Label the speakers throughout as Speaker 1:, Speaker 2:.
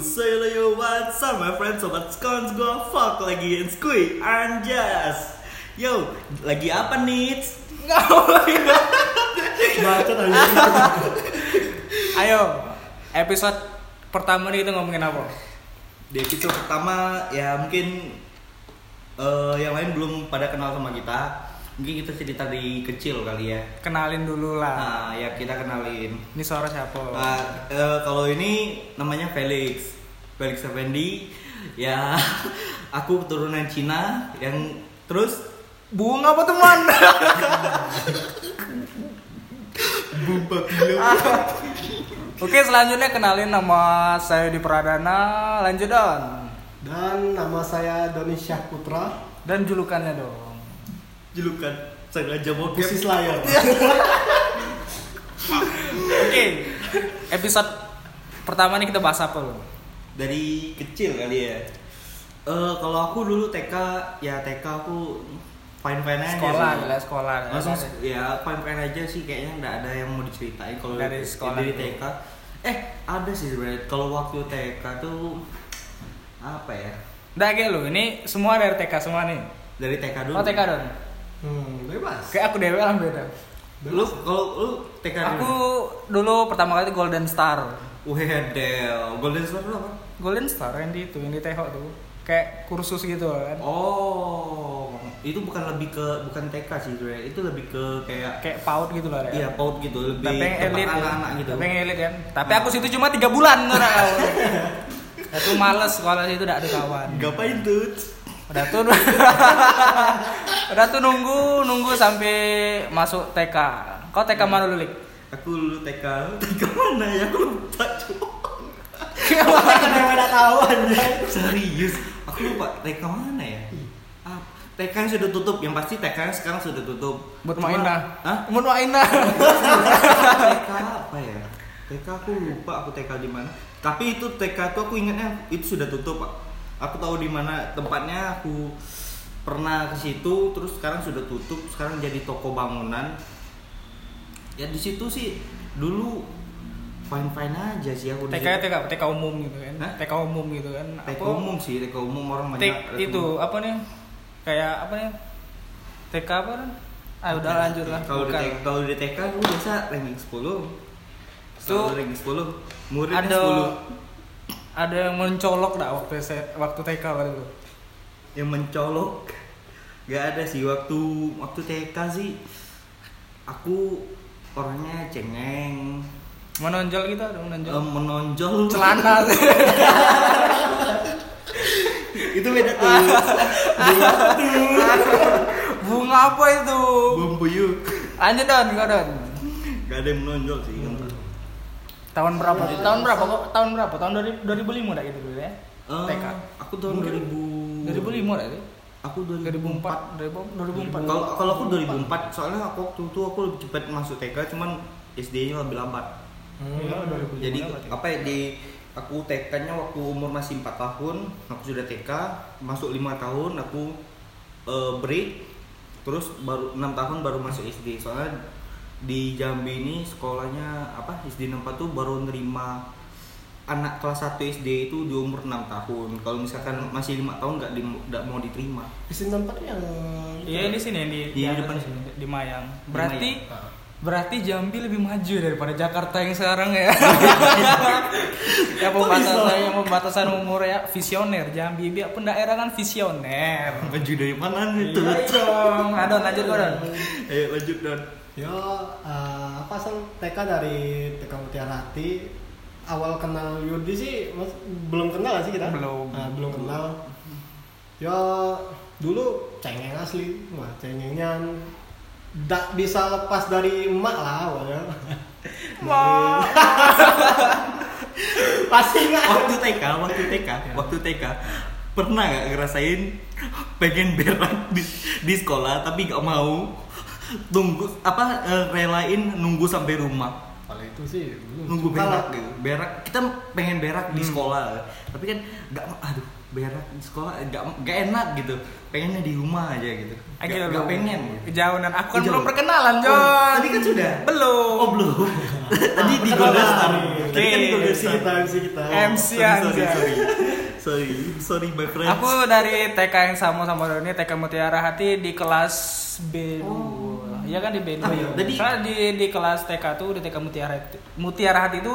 Speaker 1: Say hello yo what's up my friend sobat skons gua fuck lagi in squee anjas Yo, lagi apa nih?
Speaker 2: Bacot aja.
Speaker 3: Ayo, episode pertama nih kita ngomongin apa?
Speaker 1: Di episode pertama ya mungkin eh, yang lain belum pada kenal sama kita Mungkin kita cerita dari kecil kali ya
Speaker 3: Kenalin dulu lah.
Speaker 1: Nah, ya kita kenalin
Speaker 3: Ini suara siapa?
Speaker 1: Nah, eh, kalau ini namanya Felix Felix Effendi Ya, aku keturunan Cina yang terus
Speaker 3: Bunga apa teman?
Speaker 1: Bumpa gila.
Speaker 3: Oke, selanjutnya kenalin nama saya di Pradana, lanjut dong.
Speaker 2: Dan nama saya Doni Syah Putra,
Speaker 3: Dan julukannya dong.
Speaker 1: julukan sengaja kan? mau
Speaker 2: khusus layar.
Speaker 3: Iya. Oke, episode pertama nih kita bahas apa
Speaker 1: Eh,
Speaker 3: lo?
Speaker 1: dari kecil kali ya Eh, kalau aku dulu TK ya TK aku fine fine aja
Speaker 3: Sekolah,
Speaker 1: sih.
Speaker 3: gila sekolah.
Speaker 1: iya, langsung se- ya fine fine aja sih kayaknya nggak ada yang mau diceritain kalau
Speaker 3: Dari sekolah
Speaker 1: dari
Speaker 3: dulu.
Speaker 1: TK eh ada sih sebenarnya kalau waktu TK tuh apa ya
Speaker 3: Nggak kayak lo, ini semua dari TK semua nih.
Speaker 1: dari TK dulu
Speaker 3: Oh TK dong.
Speaker 2: Hmm, bebas.
Speaker 3: Kayak aku dewe lah beda.
Speaker 1: lu kalau lu TK
Speaker 3: Aku
Speaker 1: dulu
Speaker 3: dulu pertama kali Golden Star.
Speaker 1: Wedel, Golden Star lu apa?
Speaker 3: Golden Star yang di itu, yang di Teho tuh. Kayak kursus gitu kan.
Speaker 1: Oh, itu bukan lebih ke bukan TK sih sebenarnya, itu lebih ke kayak
Speaker 3: kayak paut gitu loh ya.
Speaker 1: Iya, paut gitu, lebih
Speaker 3: Tapi yang
Speaker 1: tempat
Speaker 3: elit ya.
Speaker 1: anak-anak gitu.
Speaker 3: Tapi yang elit kan. Tapi
Speaker 1: Ah.
Speaker 3: aku situ cuma 3 bulan ora kau. Aku males sekolah situ enggak ada kawan.
Speaker 1: Ngapain tuh?
Speaker 3: Udah tuh Udah tuh nunggu nunggu sampai masuk TK. Kau TK mana dulu, Lik?
Speaker 1: Aku dulu TK. TK mana ya? Aku lupa cowok.
Speaker 2: Kenapa udah tahu anjay?
Speaker 1: Serius, aku lupa TK mana ya? Ah, TK yang sudah tutup, yang pasti TK yang sekarang sudah tutup.
Speaker 3: Buat
Speaker 1: Cuma-
Speaker 3: main dah.
Speaker 1: Hah?
Speaker 3: Buat main dah.
Speaker 1: TK apa ya? TK aku lupa aku TK di mana. Tapi itu TK tuh aku ingatnya itu sudah tutup, Pak. Aku tahu di mana tempatnya aku pernah ke situ terus sekarang sudah tutup, sekarang jadi toko bangunan. Ya di situ sih dulu fine-fine aja sih aku di situ.
Speaker 3: TK TK TK umum gitu kan.
Speaker 1: Hah?
Speaker 3: TK umum gitu kan.
Speaker 1: TK
Speaker 3: Aku-
Speaker 1: umum sih, TK umum orang banyak.
Speaker 3: Tik itu apa nih? Kayak apa nih? TK apa? Ren? Ah udah lanjut lah.
Speaker 1: Kalau di
Speaker 3: Bukan.
Speaker 1: TK, kalau di TK aku biasa ranking 10. Selalu
Speaker 3: Tuh,
Speaker 1: ranking 10. Muridnya
Speaker 3: ada
Speaker 1: 10.
Speaker 3: ada yang mencolok dah waktu se- waktu TK waktu itu.
Speaker 1: yang mencolok gak ada sih waktu waktu TK sih aku orangnya cengeng
Speaker 3: Menonjol gitu ada
Speaker 1: eh,
Speaker 3: menonjol.
Speaker 1: menonjol
Speaker 3: Celana sih.
Speaker 1: itu beda tuh
Speaker 3: bunga apa itu?
Speaker 1: bom puyuh
Speaker 3: Lanjut don, kau don.
Speaker 1: gak ada yang menonjol sih
Speaker 3: Iya,
Speaker 2: Hmm.
Speaker 1: kan
Speaker 3: Tahun berapa? Tahun berapa kok? Tahun berapa? Tahun 2000 2005 dah gitu dulu ya.
Speaker 1: Eh,
Speaker 3: TK.
Speaker 1: aku tahun 2000
Speaker 3: 2005 dah itu.
Speaker 1: aku 2004
Speaker 3: 2004, 2004.
Speaker 1: kalau kalau aku 2004 soalnya aku waktu itu aku lebih cepat masuk TK cuman SD-nya lebih lambat
Speaker 2: Hmm.
Speaker 3: iya,
Speaker 1: jadi apa ya di aku TK-nya waktu umur masih 4 tahun aku sudah TK masuk lima tahun aku eh, break terus baru enam tahun baru masuk SD soalnya di Jambi ini sekolahnya apa SD 64 tuh baru nerima anak kelas 1 SD itu di umur 6 tahun kalau misalkan masih lima tahun nggak di- nggak mau diterima
Speaker 2: Isin tempat yang
Speaker 3: Iya di sini di
Speaker 1: Iya, di
Speaker 3: atas
Speaker 1: depan
Speaker 3: sini, di Mayang.
Speaker 1: Di
Speaker 3: Berarti
Speaker 1: Mayang.
Speaker 2: Ah.
Speaker 3: berarti Jambi lebih maju daripada Jakarta yang sekarang ya. ya
Speaker 2: Kok
Speaker 3: pembatasan
Speaker 2: bisa?
Speaker 3: yang pembatasan umur ya visioner Jambi biar pendaerah kan visioner.
Speaker 1: maju dari mana nih Eh, tuh
Speaker 3: Iya dong. Adon lanjut Adon.
Speaker 1: ayo lanjut dan
Speaker 2: Yo, eh, apa sih TK dari TK Mutiara Hati awal kenal Yudi sih mas, belum kenal nggak sih kita?
Speaker 3: Belum.
Speaker 2: Nah, belum kenal. Yo, dulu cengeng asli, wah cengengnya nggak bisa lepas dari emak lah awalnya.
Speaker 3: Wah. Oh.
Speaker 2: Pasti nggak.
Speaker 1: waktu TK waktu TK waktu TK pernah nggak ngerasain pengen berak di, di sekolah tapi nggak mau tunggu apa eh, e, relain nunggu sampai rumah
Speaker 2: Paling itu sih belum.
Speaker 1: nunggu
Speaker 2: Cuma
Speaker 1: berak
Speaker 2: kalau-
Speaker 1: gitu berak kita pengen berak di sekolah tapi kan nggak aduh berak di sekolah nggak nggak enak gitu pengennya di rumah aja gitu
Speaker 3: Akhirnya
Speaker 1: nggak
Speaker 3: lu
Speaker 1: nggak pengen gitu.
Speaker 3: Kejauhan. Aku kan
Speaker 1: Kejauhan.
Speaker 3: belum perkenalan, Jon.
Speaker 1: Oh, tadi kan sudah?
Speaker 3: Belum.
Speaker 1: oh belum tadi di Golden Star
Speaker 2: Oke.
Speaker 1: tadi kan di Golden
Speaker 2: MC
Speaker 1: Star
Speaker 2: kita, MC kita.
Speaker 3: MC
Speaker 1: sorry
Speaker 3: anjay.
Speaker 1: sorry sorry sorry my friend
Speaker 3: Aku dari TK yang sama sama Doni, TK Mutiara Hati di kelas B2.
Speaker 2: Oh.
Speaker 3: Iya kan di B2.
Speaker 1: Ah, iya. Jadi-
Speaker 3: Soalnya di di kelas TK tuh di TK Mutiara itu- Mutiara Hati itu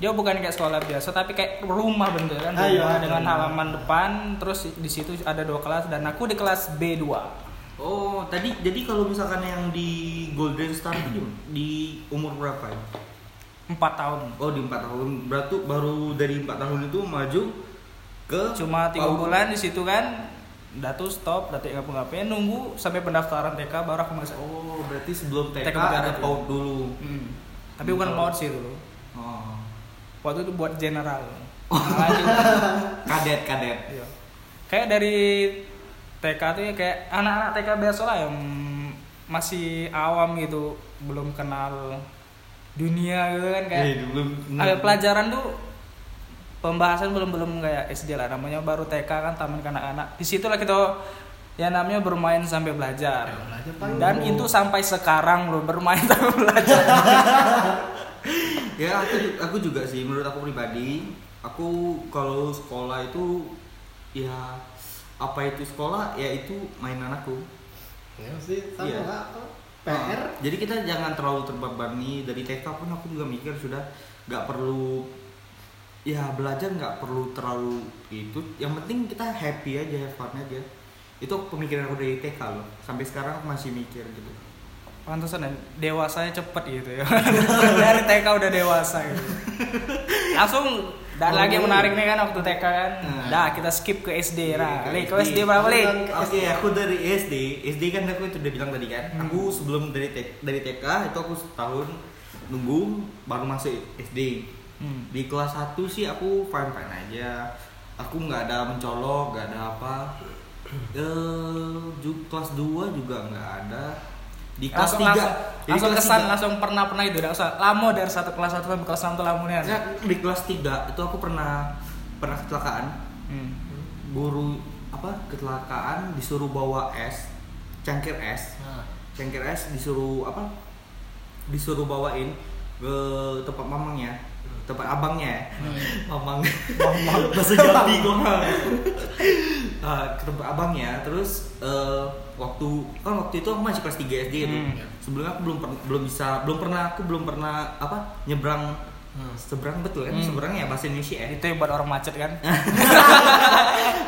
Speaker 3: dia bukan kayak sekolah biasa tapi kayak rumah bener kan
Speaker 2: Ah, iya.
Speaker 3: rumah dengan halaman depan terus di situ ada dua kelas dan aku di kelas B2.
Speaker 1: oh tadi jadi kalau misalkan yang di Golden Star itu di umur berapa ya?
Speaker 3: 4 tahun.
Speaker 1: Oh di 4 tahun berarti baru dari 4 tahun itu maju ke
Speaker 3: Cuma tiga
Speaker 1: PAUD.
Speaker 3: bulan di situ kan datu stop, datu nggak ngapain nunggu sampai pendaftaran TK baru aku masuk.
Speaker 1: Oh berarti sebelum TK,
Speaker 3: TK
Speaker 1: ada
Speaker 3: ada
Speaker 1: PAUD dulu.
Speaker 3: Hmm. Tapi bukan
Speaker 1: Hmm.
Speaker 3: PAUD sih dulu.
Speaker 1: Oh.
Speaker 3: Waktu itu buat general. Nah, Lanjut.
Speaker 1: Kadet kadet.
Speaker 3: Iya. Kayak dari TK tuh ya kayak anak-anak TK biasa lah yang masih awam gitu, belum kenal dunia gitu kan kayak.
Speaker 1: Eh, belum.
Speaker 3: Ada pelajaran tuh pembahasan belum belum kayak SD lah namanya baru TK kan taman kanak-kanak. Di situlah kita yang namanya bermain sampai belajar.
Speaker 2: Ya, belajar paling
Speaker 3: Dan itu
Speaker 2: dulu.
Speaker 3: sampai sekarang loh bermain sampai belajar.
Speaker 1: Ya aku, ju- aku juga sih menurut aku pribadi aku kalau sekolah itu ya apa itu sekolah ya itu mainan aku.
Speaker 2: Ya sih sama
Speaker 1: Iya.
Speaker 2: nggak apa? PR.
Speaker 1: Ah, Jadi kita jangan terlalu terbebani dari TK pun aku juga mikir sudah nggak perlu ya belajar nggak perlu terlalu itu. Yang penting kita happy aja, have fun aja. Itu pemikiran aku dari TK loh. Sampai sekarang aku masih mikir gitu.
Speaker 3: Pantesan ya, dewasanya cepet gitu ya. Dari TK udah dewasa gitu. Langsung dan
Speaker 1: Oh.
Speaker 3: lagi yang menarik nih kan waktu TK kan.
Speaker 1: Nah. Iya,
Speaker 3: Dah kita skip ke SD lah.
Speaker 1: Ke
Speaker 3: Lek, ke
Speaker 1: SD.
Speaker 3: SD berapa Lek?
Speaker 2: Kan ke
Speaker 1: Oke,
Speaker 2: SD.
Speaker 1: aku dari SD. SD kan aku itu udah bilang tadi kan.
Speaker 3: Hmm.
Speaker 1: Aku sebelum dari TK, dari TK itu aku setahun nunggu baru masuk SD.
Speaker 3: Hmm.
Speaker 1: Di kelas 1 sih aku fine fine aja. Aku nggak ada mencolok, nggak ada apa. Eh, ju- kelas 2 juga nggak ada. Di kelas
Speaker 3: Langsung,
Speaker 1: 3
Speaker 3: langsung, langsung kesan langsung pernah pernah itu udah usah lamo dari satu kelas satu sampai kelas enam tuh lamu nih. kan.
Speaker 1: Nah, di kelas 3 itu aku pernah pernah kecelakaan.
Speaker 3: Hmm.
Speaker 1: guru apa kecelakaan disuruh bawa es cangkir es
Speaker 3: Ah.
Speaker 2: Nah,
Speaker 1: cangkir es disuruh apa disuruh bawain ke tempat mamangnya tempat abangnya
Speaker 2: Nah,
Speaker 1: mamang mamang bahasa Jambi kok Ah, ke tempat abangnya terus eh, waktu kan waktu itu aku masih kelas 3 SD itu
Speaker 3: Hmm.
Speaker 1: sebelumnya aku belum per- belum bisa belum pernah aku belum pernah apa nyebrang
Speaker 2: Hmm.
Speaker 1: seberang betul kan
Speaker 3: Hmm.
Speaker 1: seberang ya bahasa Indonesia ya
Speaker 3: Itu yang buat orang macet kan.
Speaker 1: Iya.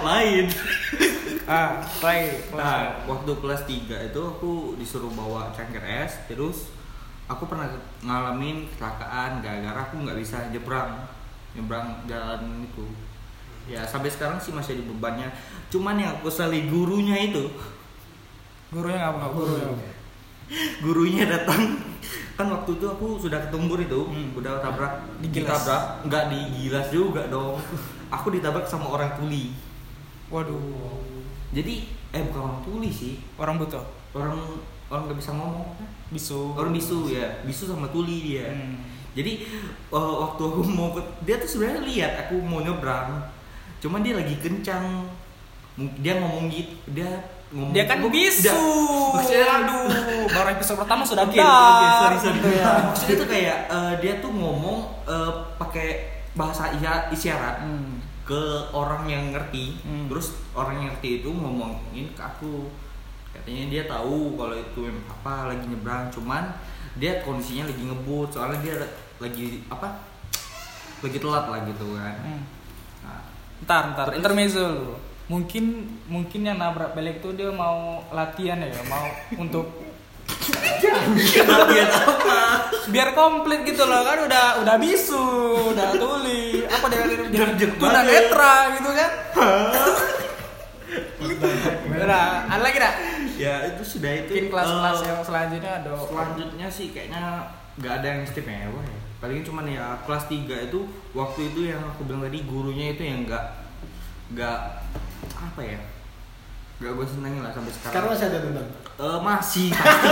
Speaker 1: lain
Speaker 3: ah, play.
Speaker 1: Nah, waktu kelas 3 itu aku disuruh bawa cangkir es, terus aku pernah ngalamin kecelakaan gara-gara aku nggak bisa nyebrang, nyebrang jalan itu. Ya sampai sekarang sih masih ada bebannya. Cuman yang aku seli gurunya itu,
Speaker 3: Gurunya ngapa nggak guru?
Speaker 1: gurunya datang kan waktu itu aku sudah ketumbur itu,
Speaker 3: Hmm.
Speaker 1: udah tabrak,
Speaker 3: Digilas.
Speaker 1: ditabrak, nggak digilas juga dong. Aku ditabrak sama orang tuli.
Speaker 3: Waduh,
Speaker 1: Jadi eh bukan orang tuli sih,
Speaker 3: orang butuh.
Speaker 1: orang orang nggak bisa ngomong.
Speaker 3: Bisu.
Speaker 1: orang bisu ya bisu sama tuli dia
Speaker 3: Hmm.
Speaker 1: jadi uh, waktu aku mau ke- dia tuh sebenarnya lihat aku mau nyebrang cuman dia lagi kencang Mung- dia ngomong gitu dia ngomong
Speaker 3: Dia kan
Speaker 1: Gua-
Speaker 3: bisu.
Speaker 1: Dia- maksudnya
Speaker 3: Aduh, baru episode pertama sudah
Speaker 1: Oke,
Speaker 3: dark
Speaker 1: oke, sorry, sorry.
Speaker 3: gitu ya.
Speaker 1: maksudnya tuh kayak uh, dia tuh ngomong uh, pakai bahasa iya- isyarat
Speaker 3: Hmm.
Speaker 1: ke orang yang ngerti
Speaker 3: Hmm.
Speaker 1: terus orang yang ngerti itu ngomongin ke aku katanya dia tahu kalau itu memang apa lagi nyebrang cuman dia kondisinya lagi ngebut soalnya dia lagi apa lagi telat lah gitu kan
Speaker 3: Hmm.
Speaker 1: nah,
Speaker 3: Ntar, ntar, intermezzo dulu. Mungkin mungkin yang nabrak belek tuh dia mau latihan ya, mau untuk
Speaker 1: dia tahu
Speaker 3: biar komplit gitu loh kan udah udah bisu, udah tuli, apa dia dia
Speaker 1: Jerjek
Speaker 3: tuna
Speaker 1: banget.
Speaker 3: netra gitu kan. Udah, Nah, ada lagi dah.
Speaker 1: ya itu sudah itu
Speaker 3: Mungkin ya. kelas-kelas
Speaker 1: Eh,
Speaker 3: yang selanjutnya ada
Speaker 1: selanjutnya sih kayaknya nggak ada yang istimewa ya paling cuman ya kelas 3 itu waktu itu yang aku bilang tadi gurunya itu yang nggak nggak apa ya nggak gue senengin lah sampai sekarang
Speaker 2: Sekarang masih ada dendam.
Speaker 1: Eh, masih pasti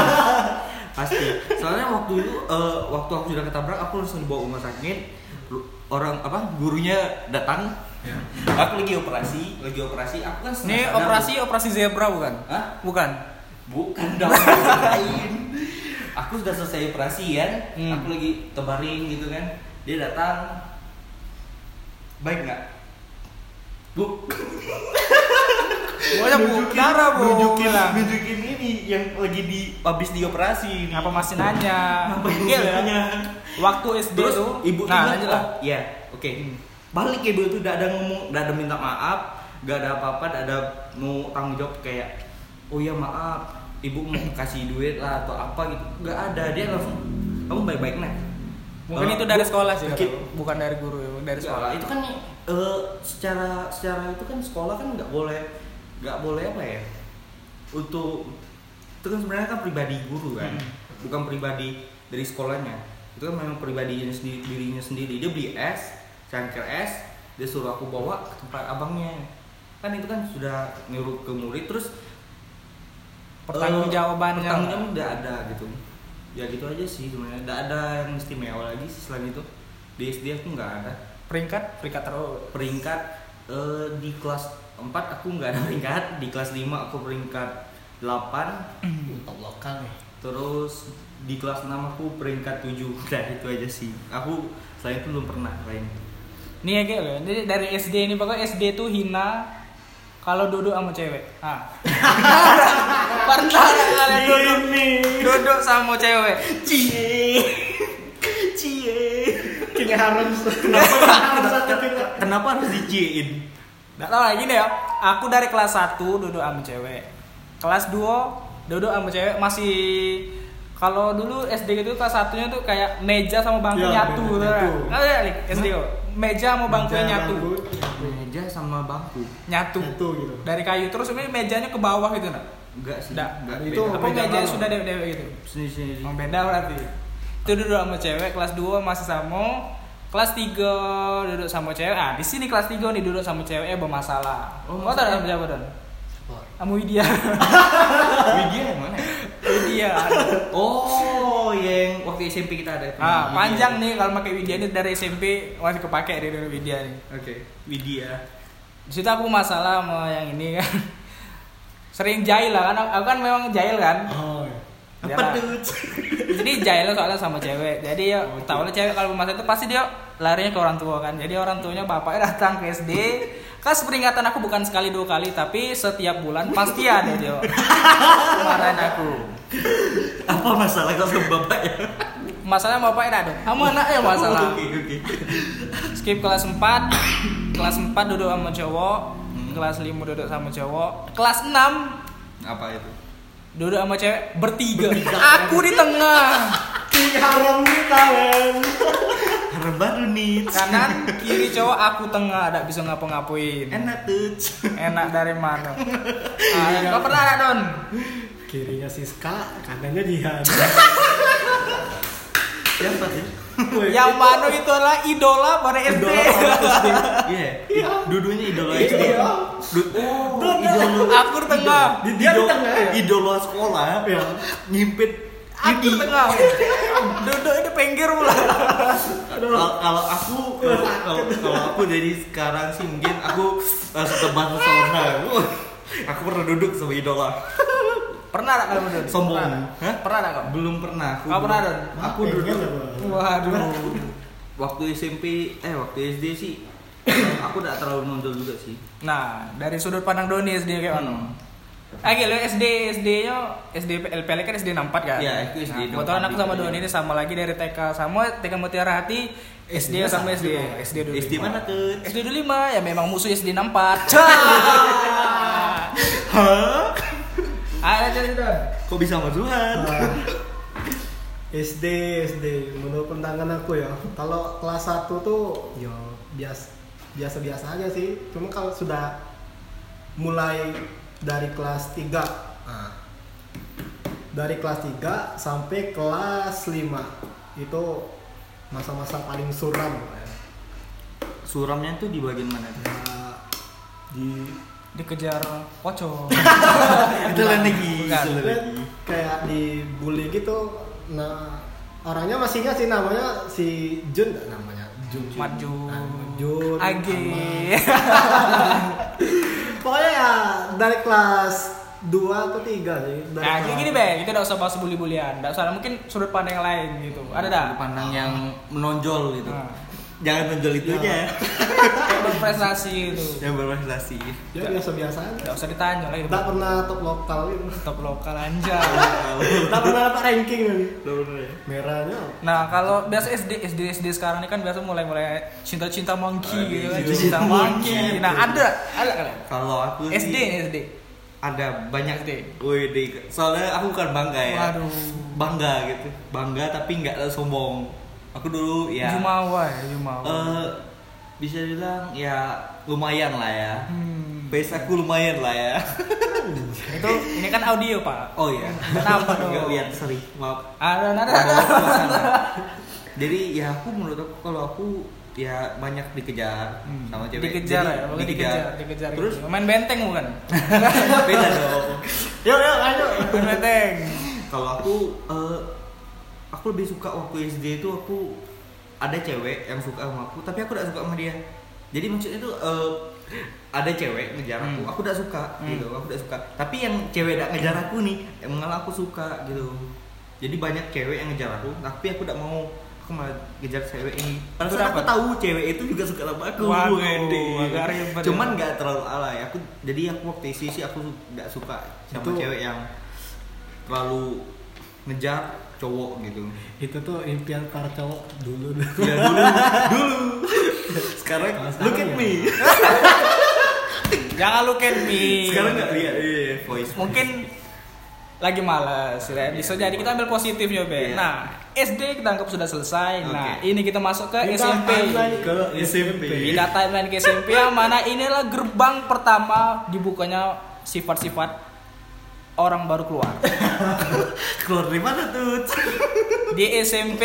Speaker 1: pasti soalnya waktu itu eh, waktu aku sudah ketabrak aku langsung dibawa rumah sakit Lu- orang apa gurunya datang
Speaker 3: Ya.
Speaker 1: aku lagi operasi lagi operasi aku kan
Speaker 3: Ini
Speaker 1: setengah sadar.
Speaker 3: operasi operasi zebra bukan?
Speaker 1: Hah?
Speaker 3: Bukan.
Speaker 1: bukan dong orang lain aku sudah selesai operasi kan
Speaker 3: Hmm.
Speaker 1: aku lagi tebaring gitu kan dia datang baik nggak bu
Speaker 3: Pokoknya Oh, ya, bu, darah bu. Nah.
Speaker 1: nunjukin,
Speaker 3: bilang.
Speaker 1: nunjukin ini yang lagi di habis dioperasi ini.
Speaker 3: Apa masih nanya?
Speaker 1: Apa yang
Speaker 3: Gila ya.
Speaker 1: nanya?
Speaker 3: Waktu SD
Speaker 1: terus
Speaker 3: tuh.
Speaker 1: ibu tuh
Speaker 3: nah,
Speaker 1: bilang,
Speaker 3: lanjut
Speaker 1: "Oh,
Speaker 3: lah.
Speaker 1: ya oke balik ibu itu tidak ada ngomong tidak ada minta maaf gak ada apa-apa tidak ada mau tanggung jawab kayak oh ya maaf ibu mau kasih duit lah atau apa gitu gak ada dia langsung kamu baik-baik nah
Speaker 3: Mungkin
Speaker 1: Eh,
Speaker 3: itu dari
Speaker 1: bu-
Speaker 3: sekolah sih,
Speaker 1: mungkin-
Speaker 3: kata lu. bukan dari guru ya, dari
Speaker 1: sekolah
Speaker 3: sekolah.
Speaker 1: itu kan eh, secara secara itu kan sekolah kan nggak boleh nggak boleh apa ya untuk itu kan sebenarnya kan pribadi guru kan
Speaker 3: Hmm.
Speaker 1: bukan pribadi dari sekolahnya itu kan memang pribadinya sendiri dirinya sendiri dia beli es cangkir es dia suruh aku bawa ke tempat abangnya kan itu kan sudah nyuruh ke murid terus eh,
Speaker 3: Pertanggungjawabannya.
Speaker 1: pertanggung jawaban nggak ada gitu ya gitu aja sih sebenarnya nggak ada yang istimewa lagi sih selain itu di SD aku nggak ada
Speaker 3: Peringkat, peringkat terus.
Speaker 1: peringkat eh, di kelas 4 aku nggak ada peringkat di kelas 5 aku peringkat 8
Speaker 2: Tolokan nih.
Speaker 1: terus di kelas 6 aku peringkat 7 udah itu aja sih aku selain itu belum pernah lain
Speaker 3: Nih ya Gel, ya. Jadi dari SD ini pokoknya SD tuh hina kalau duduk sama cewek. Ah. Pernah nggak kalian duduk
Speaker 1: nih
Speaker 3: duduk sama cewek?
Speaker 1: cie cie
Speaker 2: Kayaknya harus kenapa harus satu kita.
Speaker 1: kenapa harus diciein
Speaker 3: Nggak tahu lagi deh ya. Aku dari kelas 1 duduk sama cewek. Kelas 2 duduk sama cewek masih kalau dulu SD gitu kelas satunya tuh kayak meja sama bangku
Speaker 2: Ya,
Speaker 3: nyatu
Speaker 2: bener,
Speaker 3: gitu kan.
Speaker 2: nyatu.
Speaker 3: Tahu ya, Lik? SD kok. Meja sama bangkunya
Speaker 2: Meja,
Speaker 3: nyatu.
Speaker 2: bangku,
Speaker 1: meja sama bangku
Speaker 3: Nyatu.
Speaker 2: Nyatu gitu.
Speaker 3: Dari kayu terus ini mejanya ke bawah gitu nah.
Speaker 1: enggak sih
Speaker 3: Nggak.
Speaker 2: Itu
Speaker 1: Oh, beda.
Speaker 3: Apa
Speaker 2: meja
Speaker 3: mejanya
Speaker 2: lama.
Speaker 3: sudah dewe-dewe gitu.
Speaker 1: sini sini sini.
Speaker 3: Emang beda berarti. Itu duduk sama cewek kelas 2 masih sama. Kelas 3 duduk sama cewek. Ah, di sini kelas 3 nih duduk sama ceweknya bermasalah.
Speaker 1: Oh,
Speaker 3: Oh,
Speaker 1: masalah.
Speaker 3: tahu sama siapa, Don? Sama Widya.
Speaker 1: Widya yang mana ya?
Speaker 3: Widya.
Speaker 1: oh yang waktu SMP kita ada
Speaker 3: Ah,
Speaker 1: Widya.
Speaker 3: panjang nih kalau pakai Widya ini dari SMP masih kepake dari dulu Widya nih.
Speaker 1: oke Widya
Speaker 3: Di situ aku masalah sama yang ini kan. Sering jahil lah kan. Aku kan memang jahil kan.
Speaker 2: Oh. iya.
Speaker 3: Dia-
Speaker 1: apa tuh Oh,
Speaker 3: jadi jahil soalnya sama cewek jadi ya tau
Speaker 1: gitu.
Speaker 3: lah cewek kalau masa itu pasti dia larinya ke orang tua kan jadi orang tuanya bapaknya datang ke SD kas peringatan aku bukan sekali dua kali tapi setiap bulan pasti ada dia kemarin aku
Speaker 1: apa masalah kalau sama bapak ya?
Speaker 3: masalah bapaknya ada sama anaknya masalah
Speaker 1: Oke oke.
Speaker 3: skip kelas 4 kelas 4 duduk sama cowok kelas 5 duduk sama cowok kelas 6
Speaker 1: Apa itu?
Speaker 3: duduk sama cewek bertiga aku di tengah
Speaker 2: Tiga haram kita men.
Speaker 1: Haram baru nih.
Speaker 3: kanan kiri cowok aku tengah tidak bisa ngapa-ngapain
Speaker 1: Enak tuh.
Speaker 3: enak dari mana? Ah, kau pernah nggak Don?
Speaker 2: Kirinya Siska, kanannya Jihan.
Speaker 1: Siapa tuh?
Speaker 2: Woi,
Speaker 3: Yang mana itu adalah idola pada SD.
Speaker 1: Idola orang SD. Iya.
Speaker 2: Iya.
Speaker 1: Dudunya idola
Speaker 2: Iya.
Speaker 1: SD. Du-
Speaker 2: Dud.
Speaker 1: Idola.
Speaker 3: Oh, Aku di tengah.
Speaker 2: Di- dia di
Speaker 1: Idola-
Speaker 2: tengah ya?
Speaker 1: Idola sekolah. Gitu.
Speaker 2: Iya.
Speaker 1: Nyimpit.
Speaker 3: Aku di tengah. Duduk di pinggir pula.
Speaker 1: Kalau kalau aku kalau kalau aku dari sekarang sih mungkin aku eh, langsung terbang ke sauna. Wuh, Aku pernah duduk sama idola.
Speaker 3: Pernah nggak kamu Don?
Speaker 1: Sombong. Hah?
Speaker 3: Pernah nggak kamu?
Speaker 1: Belum pernah.
Speaker 3: Kau pernah,
Speaker 1: belum-
Speaker 3: Don?
Speaker 1: Aku duduk.
Speaker 3: Waduh.
Speaker 1: waktu SMP eh waktu SD sih aku tidak terlalu nonjol juga sih
Speaker 3: Nah, dari sudut pandang Doni SD kayak mana?
Speaker 1: Hmm.
Speaker 3: Oke, lu SD SD nya SD LPL kan SD 64 kan?
Speaker 1: Iya, aku SD
Speaker 3: Nah, kebetulan
Speaker 1: 64
Speaker 3: aku sama
Speaker 1: juga.
Speaker 3: Doni ini sama lagi dari TK sama TK Mutiara Hati SD, sama SD SD dulu.
Speaker 1: SD mana tuh
Speaker 3: SD 25 ya memang musuh SD 64. Hah? Ayo cari dong.
Speaker 1: kok bisa sama Zuhan
Speaker 2: Nah, SD SD menurut pandangan aku ya kalau kelas 1 tuh ya bias biasa biasa aja sih cuma kalau sudah mulai dari kelas 3 Ah. dari kelas 3 sampai kelas 5 itu masa-masa paling suram ya.
Speaker 1: suramnya tuh di bagian mana tuh
Speaker 2: Ya, di
Speaker 3: dikejar pocong
Speaker 1: Itu lain lagi.
Speaker 3: Bukan.
Speaker 1: itu lain
Speaker 2: Dia
Speaker 1: lagi.
Speaker 2: kayak dibully gitu nah orangnya masih ingat sih namanya si Jun nggak namanya Jun
Speaker 3: maju
Speaker 2: Nah, Jun
Speaker 3: age
Speaker 2: sama- pokoknya ya dari kelas 2 atau 3 sih dari
Speaker 3: nah
Speaker 2: kelas-
Speaker 3: gini gini be kita gak usah bahas bully-bullyan gak usah mungkin sudut pandang yang lain gitu ada dah
Speaker 1: Sudut pandang yang menonjol gitu.
Speaker 3: Nah.
Speaker 1: Jangan menonjol itu aja.
Speaker 3: Kayak berprestasi gitu
Speaker 1: Yang berprestasi.
Speaker 2: ya biasa-biasa aja
Speaker 3: gak usah ditanya lagi
Speaker 2: nggak pernah top lokal gitu
Speaker 3: top lokal aja
Speaker 2: nggak pernah dapat ranking lagi
Speaker 1: Bener-bener ya.
Speaker 2: merahnya
Speaker 3: nah kalau biasa SD SD SD sekarang ini kan biasa mulai mulai cinta cinta monkey gitu kan
Speaker 1: Aduh,
Speaker 3: cinta
Speaker 1: cinta
Speaker 3: monkey
Speaker 1: monkey.
Speaker 3: nah ada ada kalian
Speaker 1: Kalau aku sih
Speaker 3: SD SD
Speaker 1: ada banyak
Speaker 3: SD.
Speaker 1: deh. Wih, soalnya aku bukan bangga ya.
Speaker 3: Waduh.
Speaker 1: Bangga gitu. Bangga tapi nggak sombong. Aku dulu ya.
Speaker 3: Jumawa ya Jumawa
Speaker 1: eh, bisa bilang ya lumayan lah ya.
Speaker 3: Hmm.
Speaker 1: Base aku lumayan lah ya.
Speaker 3: itu ini kan audio pak
Speaker 1: Oh iya.
Speaker 3: Kenapa dong?
Speaker 1: Nggak lihat sorry. Maaf.
Speaker 3: ada ada ada
Speaker 1: Bawa ke sana. Jadi ya aku menurut aku kalau aku ya banyak dikejar sama cewek.
Speaker 3: Hmm. dikejar
Speaker 1: Jadi,
Speaker 3: ya pokoknya dikejar dikejar
Speaker 1: Terus
Speaker 3: gitu. ya? main benteng bukan
Speaker 1: beda dong.
Speaker 2: yuk yuk ayo
Speaker 3: main benteng
Speaker 1: Kalau aku eh, aku lebih suka waktu SD itu aku ada cewek yang suka sama aku tapi aku tidak suka sama dia. Jadi maksudnya itu eh, ada cewek ngejar aku,
Speaker 3: Hmm.
Speaker 1: aku tidak suka
Speaker 3: Hmm.
Speaker 1: gitu, aku tidak suka. Tapi yang cewek tidak ngejar aku nih, yang mengalah aku suka gitu. Jadi banyak cewek yang ngejar aku, tapi aku tidak mau aku malah ngejar cewek ini.
Speaker 3: Itu
Speaker 1: Padahal kan aku
Speaker 3: dapat.
Speaker 1: tahu cewek itu juga suka sama aku.
Speaker 3: Waduh,
Speaker 1: Wendy.
Speaker 3: agak ribet
Speaker 1: Cuman
Speaker 3: ya.
Speaker 1: nggak terlalu alay. Aku jadi aku waktu isi sih aku nggak suka sama
Speaker 2: Itu-
Speaker 1: cewek yang terlalu ngejar cowok gitu.
Speaker 2: itu tuh impian para cowok dulu
Speaker 1: Ya dulu, dulu. Sekarang
Speaker 2: Kalau sekarang
Speaker 1: look at
Speaker 2: ya.
Speaker 1: me.
Speaker 3: jangan lu can me
Speaker 2: iya.
Speaker 1: Sekarang nggak lihat eh, voice.
Speaker 3: mungkin lagi males ya. bisa jadi kita ambil positifnya
Speaker 1: Iya.
Speaker 3: be nah SD kita anggap sudah selesai nah
Speaker 1: Oke.
Speaker 3: ini kita masuk ke SMP
Speaker 2: ke
Speaker 1: SMP.
Speaker 3: kita timeline ke SMP yang mana inilah gerbang pertama dibukanya sifat-sifat orang baru keluar
Speaker 1: Keluar dari mana tuh?
Speaker 3: di SMP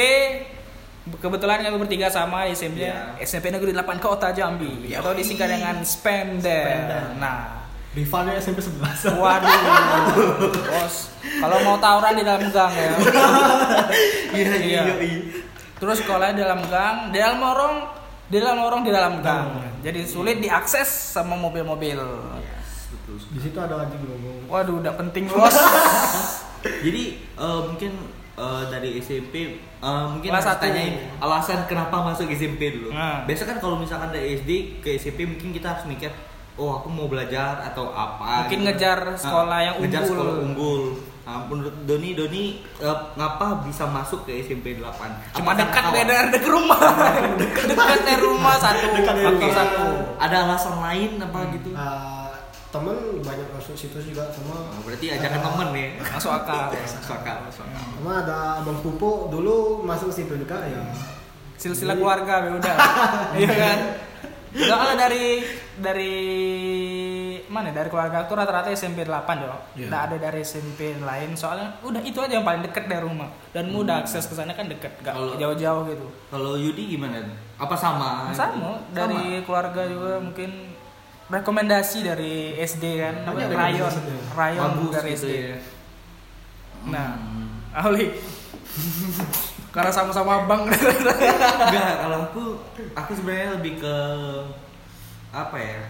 Speaker 3: kebetulan kami bertiga sama di SMP
Speaker 1: Iya.
Speaker 3: SMP Negeri 8 Kota Jambi
Speaker 1: Yoi.
Speaker 3: atau disingkat dengan Spender
Speaker 2: Spender.
Speaker 3: nah
Speaker 2: rivalnya SMP 11
Speaker 3: waduh bos kalau mau tawuran di dalam gang ya
Speaker 1: Iya,
Speaker 3: Iya.
Speaker 1: iya, iya.
Speaker 3: Terus sekolah di dalam gang, di dalam lorong, di dalam lorong di dalam gang. Jadi sulit diakses sama mobil-mobil.
Speaker 1: Yes, betul.
Speaker 2: di situ ada anjing ngomong
Speaker 3: Waduh, udah penting bos.
Speaker 1: Jadi eh, mungkin eh, dari SMP eh, mungkin
Speaker 3: Kelas
Speaker 1: harus
Speaker 3: satu.
Speaker 1: tanyain alasan kenapa masuk SMP dulu.
Speaker 3: Nah.
Speaker 1: Biasa kan kalau misalkan dari SD ke SMP mungkin kita harus mikir, oh aku mau belajar atau apa. Gitu. Nah,
Speaker 3: Mungkin ngejar sekolah yang
Speaker 1: ngejar
Speaker 3: unggul.
Speaker 1: sekolah unggul. Nah, menurut Doni, Doni eh, ngapa bisa masuk ke SMP 8?
Speaker 3: Cuma
Speaker 1: Apa
Speaker 3: dekat
Speaker 1: karena
Speaker 3: beda
Speaker 1: kawan?
Speaker 3: dekat rumah. dekat dari rumah satu,
Speaker 2: Dekat dari
Speaker 3: faktor
Speaker 2: rumah.
Speaker 3: satu. Hmm.
Speaker 1: Ada alasan lain apa gitu?
Speaker 2: Ah, temen banyak masuk situ juga sama Ah,
Speaker 1: Nah, berarti ajakan temen ya.
Speaker 3: Masuk akal.
Speaker 1: Masuk akal, masuk akal.
Speaker 2: sama ada abang pupu dulu masuk situ juga ya
Speaker 3: Silsilah keluarga, ya udah. Iya kan? Soalnya dari dari mana ya? dari keluarga aku rata-rata SMP 8 dong.
Speaker 2: Iya.
Speaker 3: Nggak ada dari SMP lain soalnya udah itu aja yang paling deket dari rumah dan mudah akses ke sana kan deket, nggak
Speaker 1: Kalau-
Speaker 3: jauh-jauh gitu.
Speaker 1: Kalau Yudi gimana? Apa sama?
Speaker 3: sama dari keluarga juga mungkin rekomendasi dari SD kan apa
Speaker 2: Banyak
Speaker 3: rayon
Speaker 2: rekomendasinya.
Speaker 3: rayon
Speaker 1: Bagus
Speaker 3: dari
Speaker 1: gitu
Speaker 3: SD
Speaker 1: ya.
Speaker 3: nah
Speaker 1: Hmm.
Speaker 3: Auli karena sama-sama abang
Speaker 1: Enggak, kalau aku aku sebenarnya lebih ke apa ya?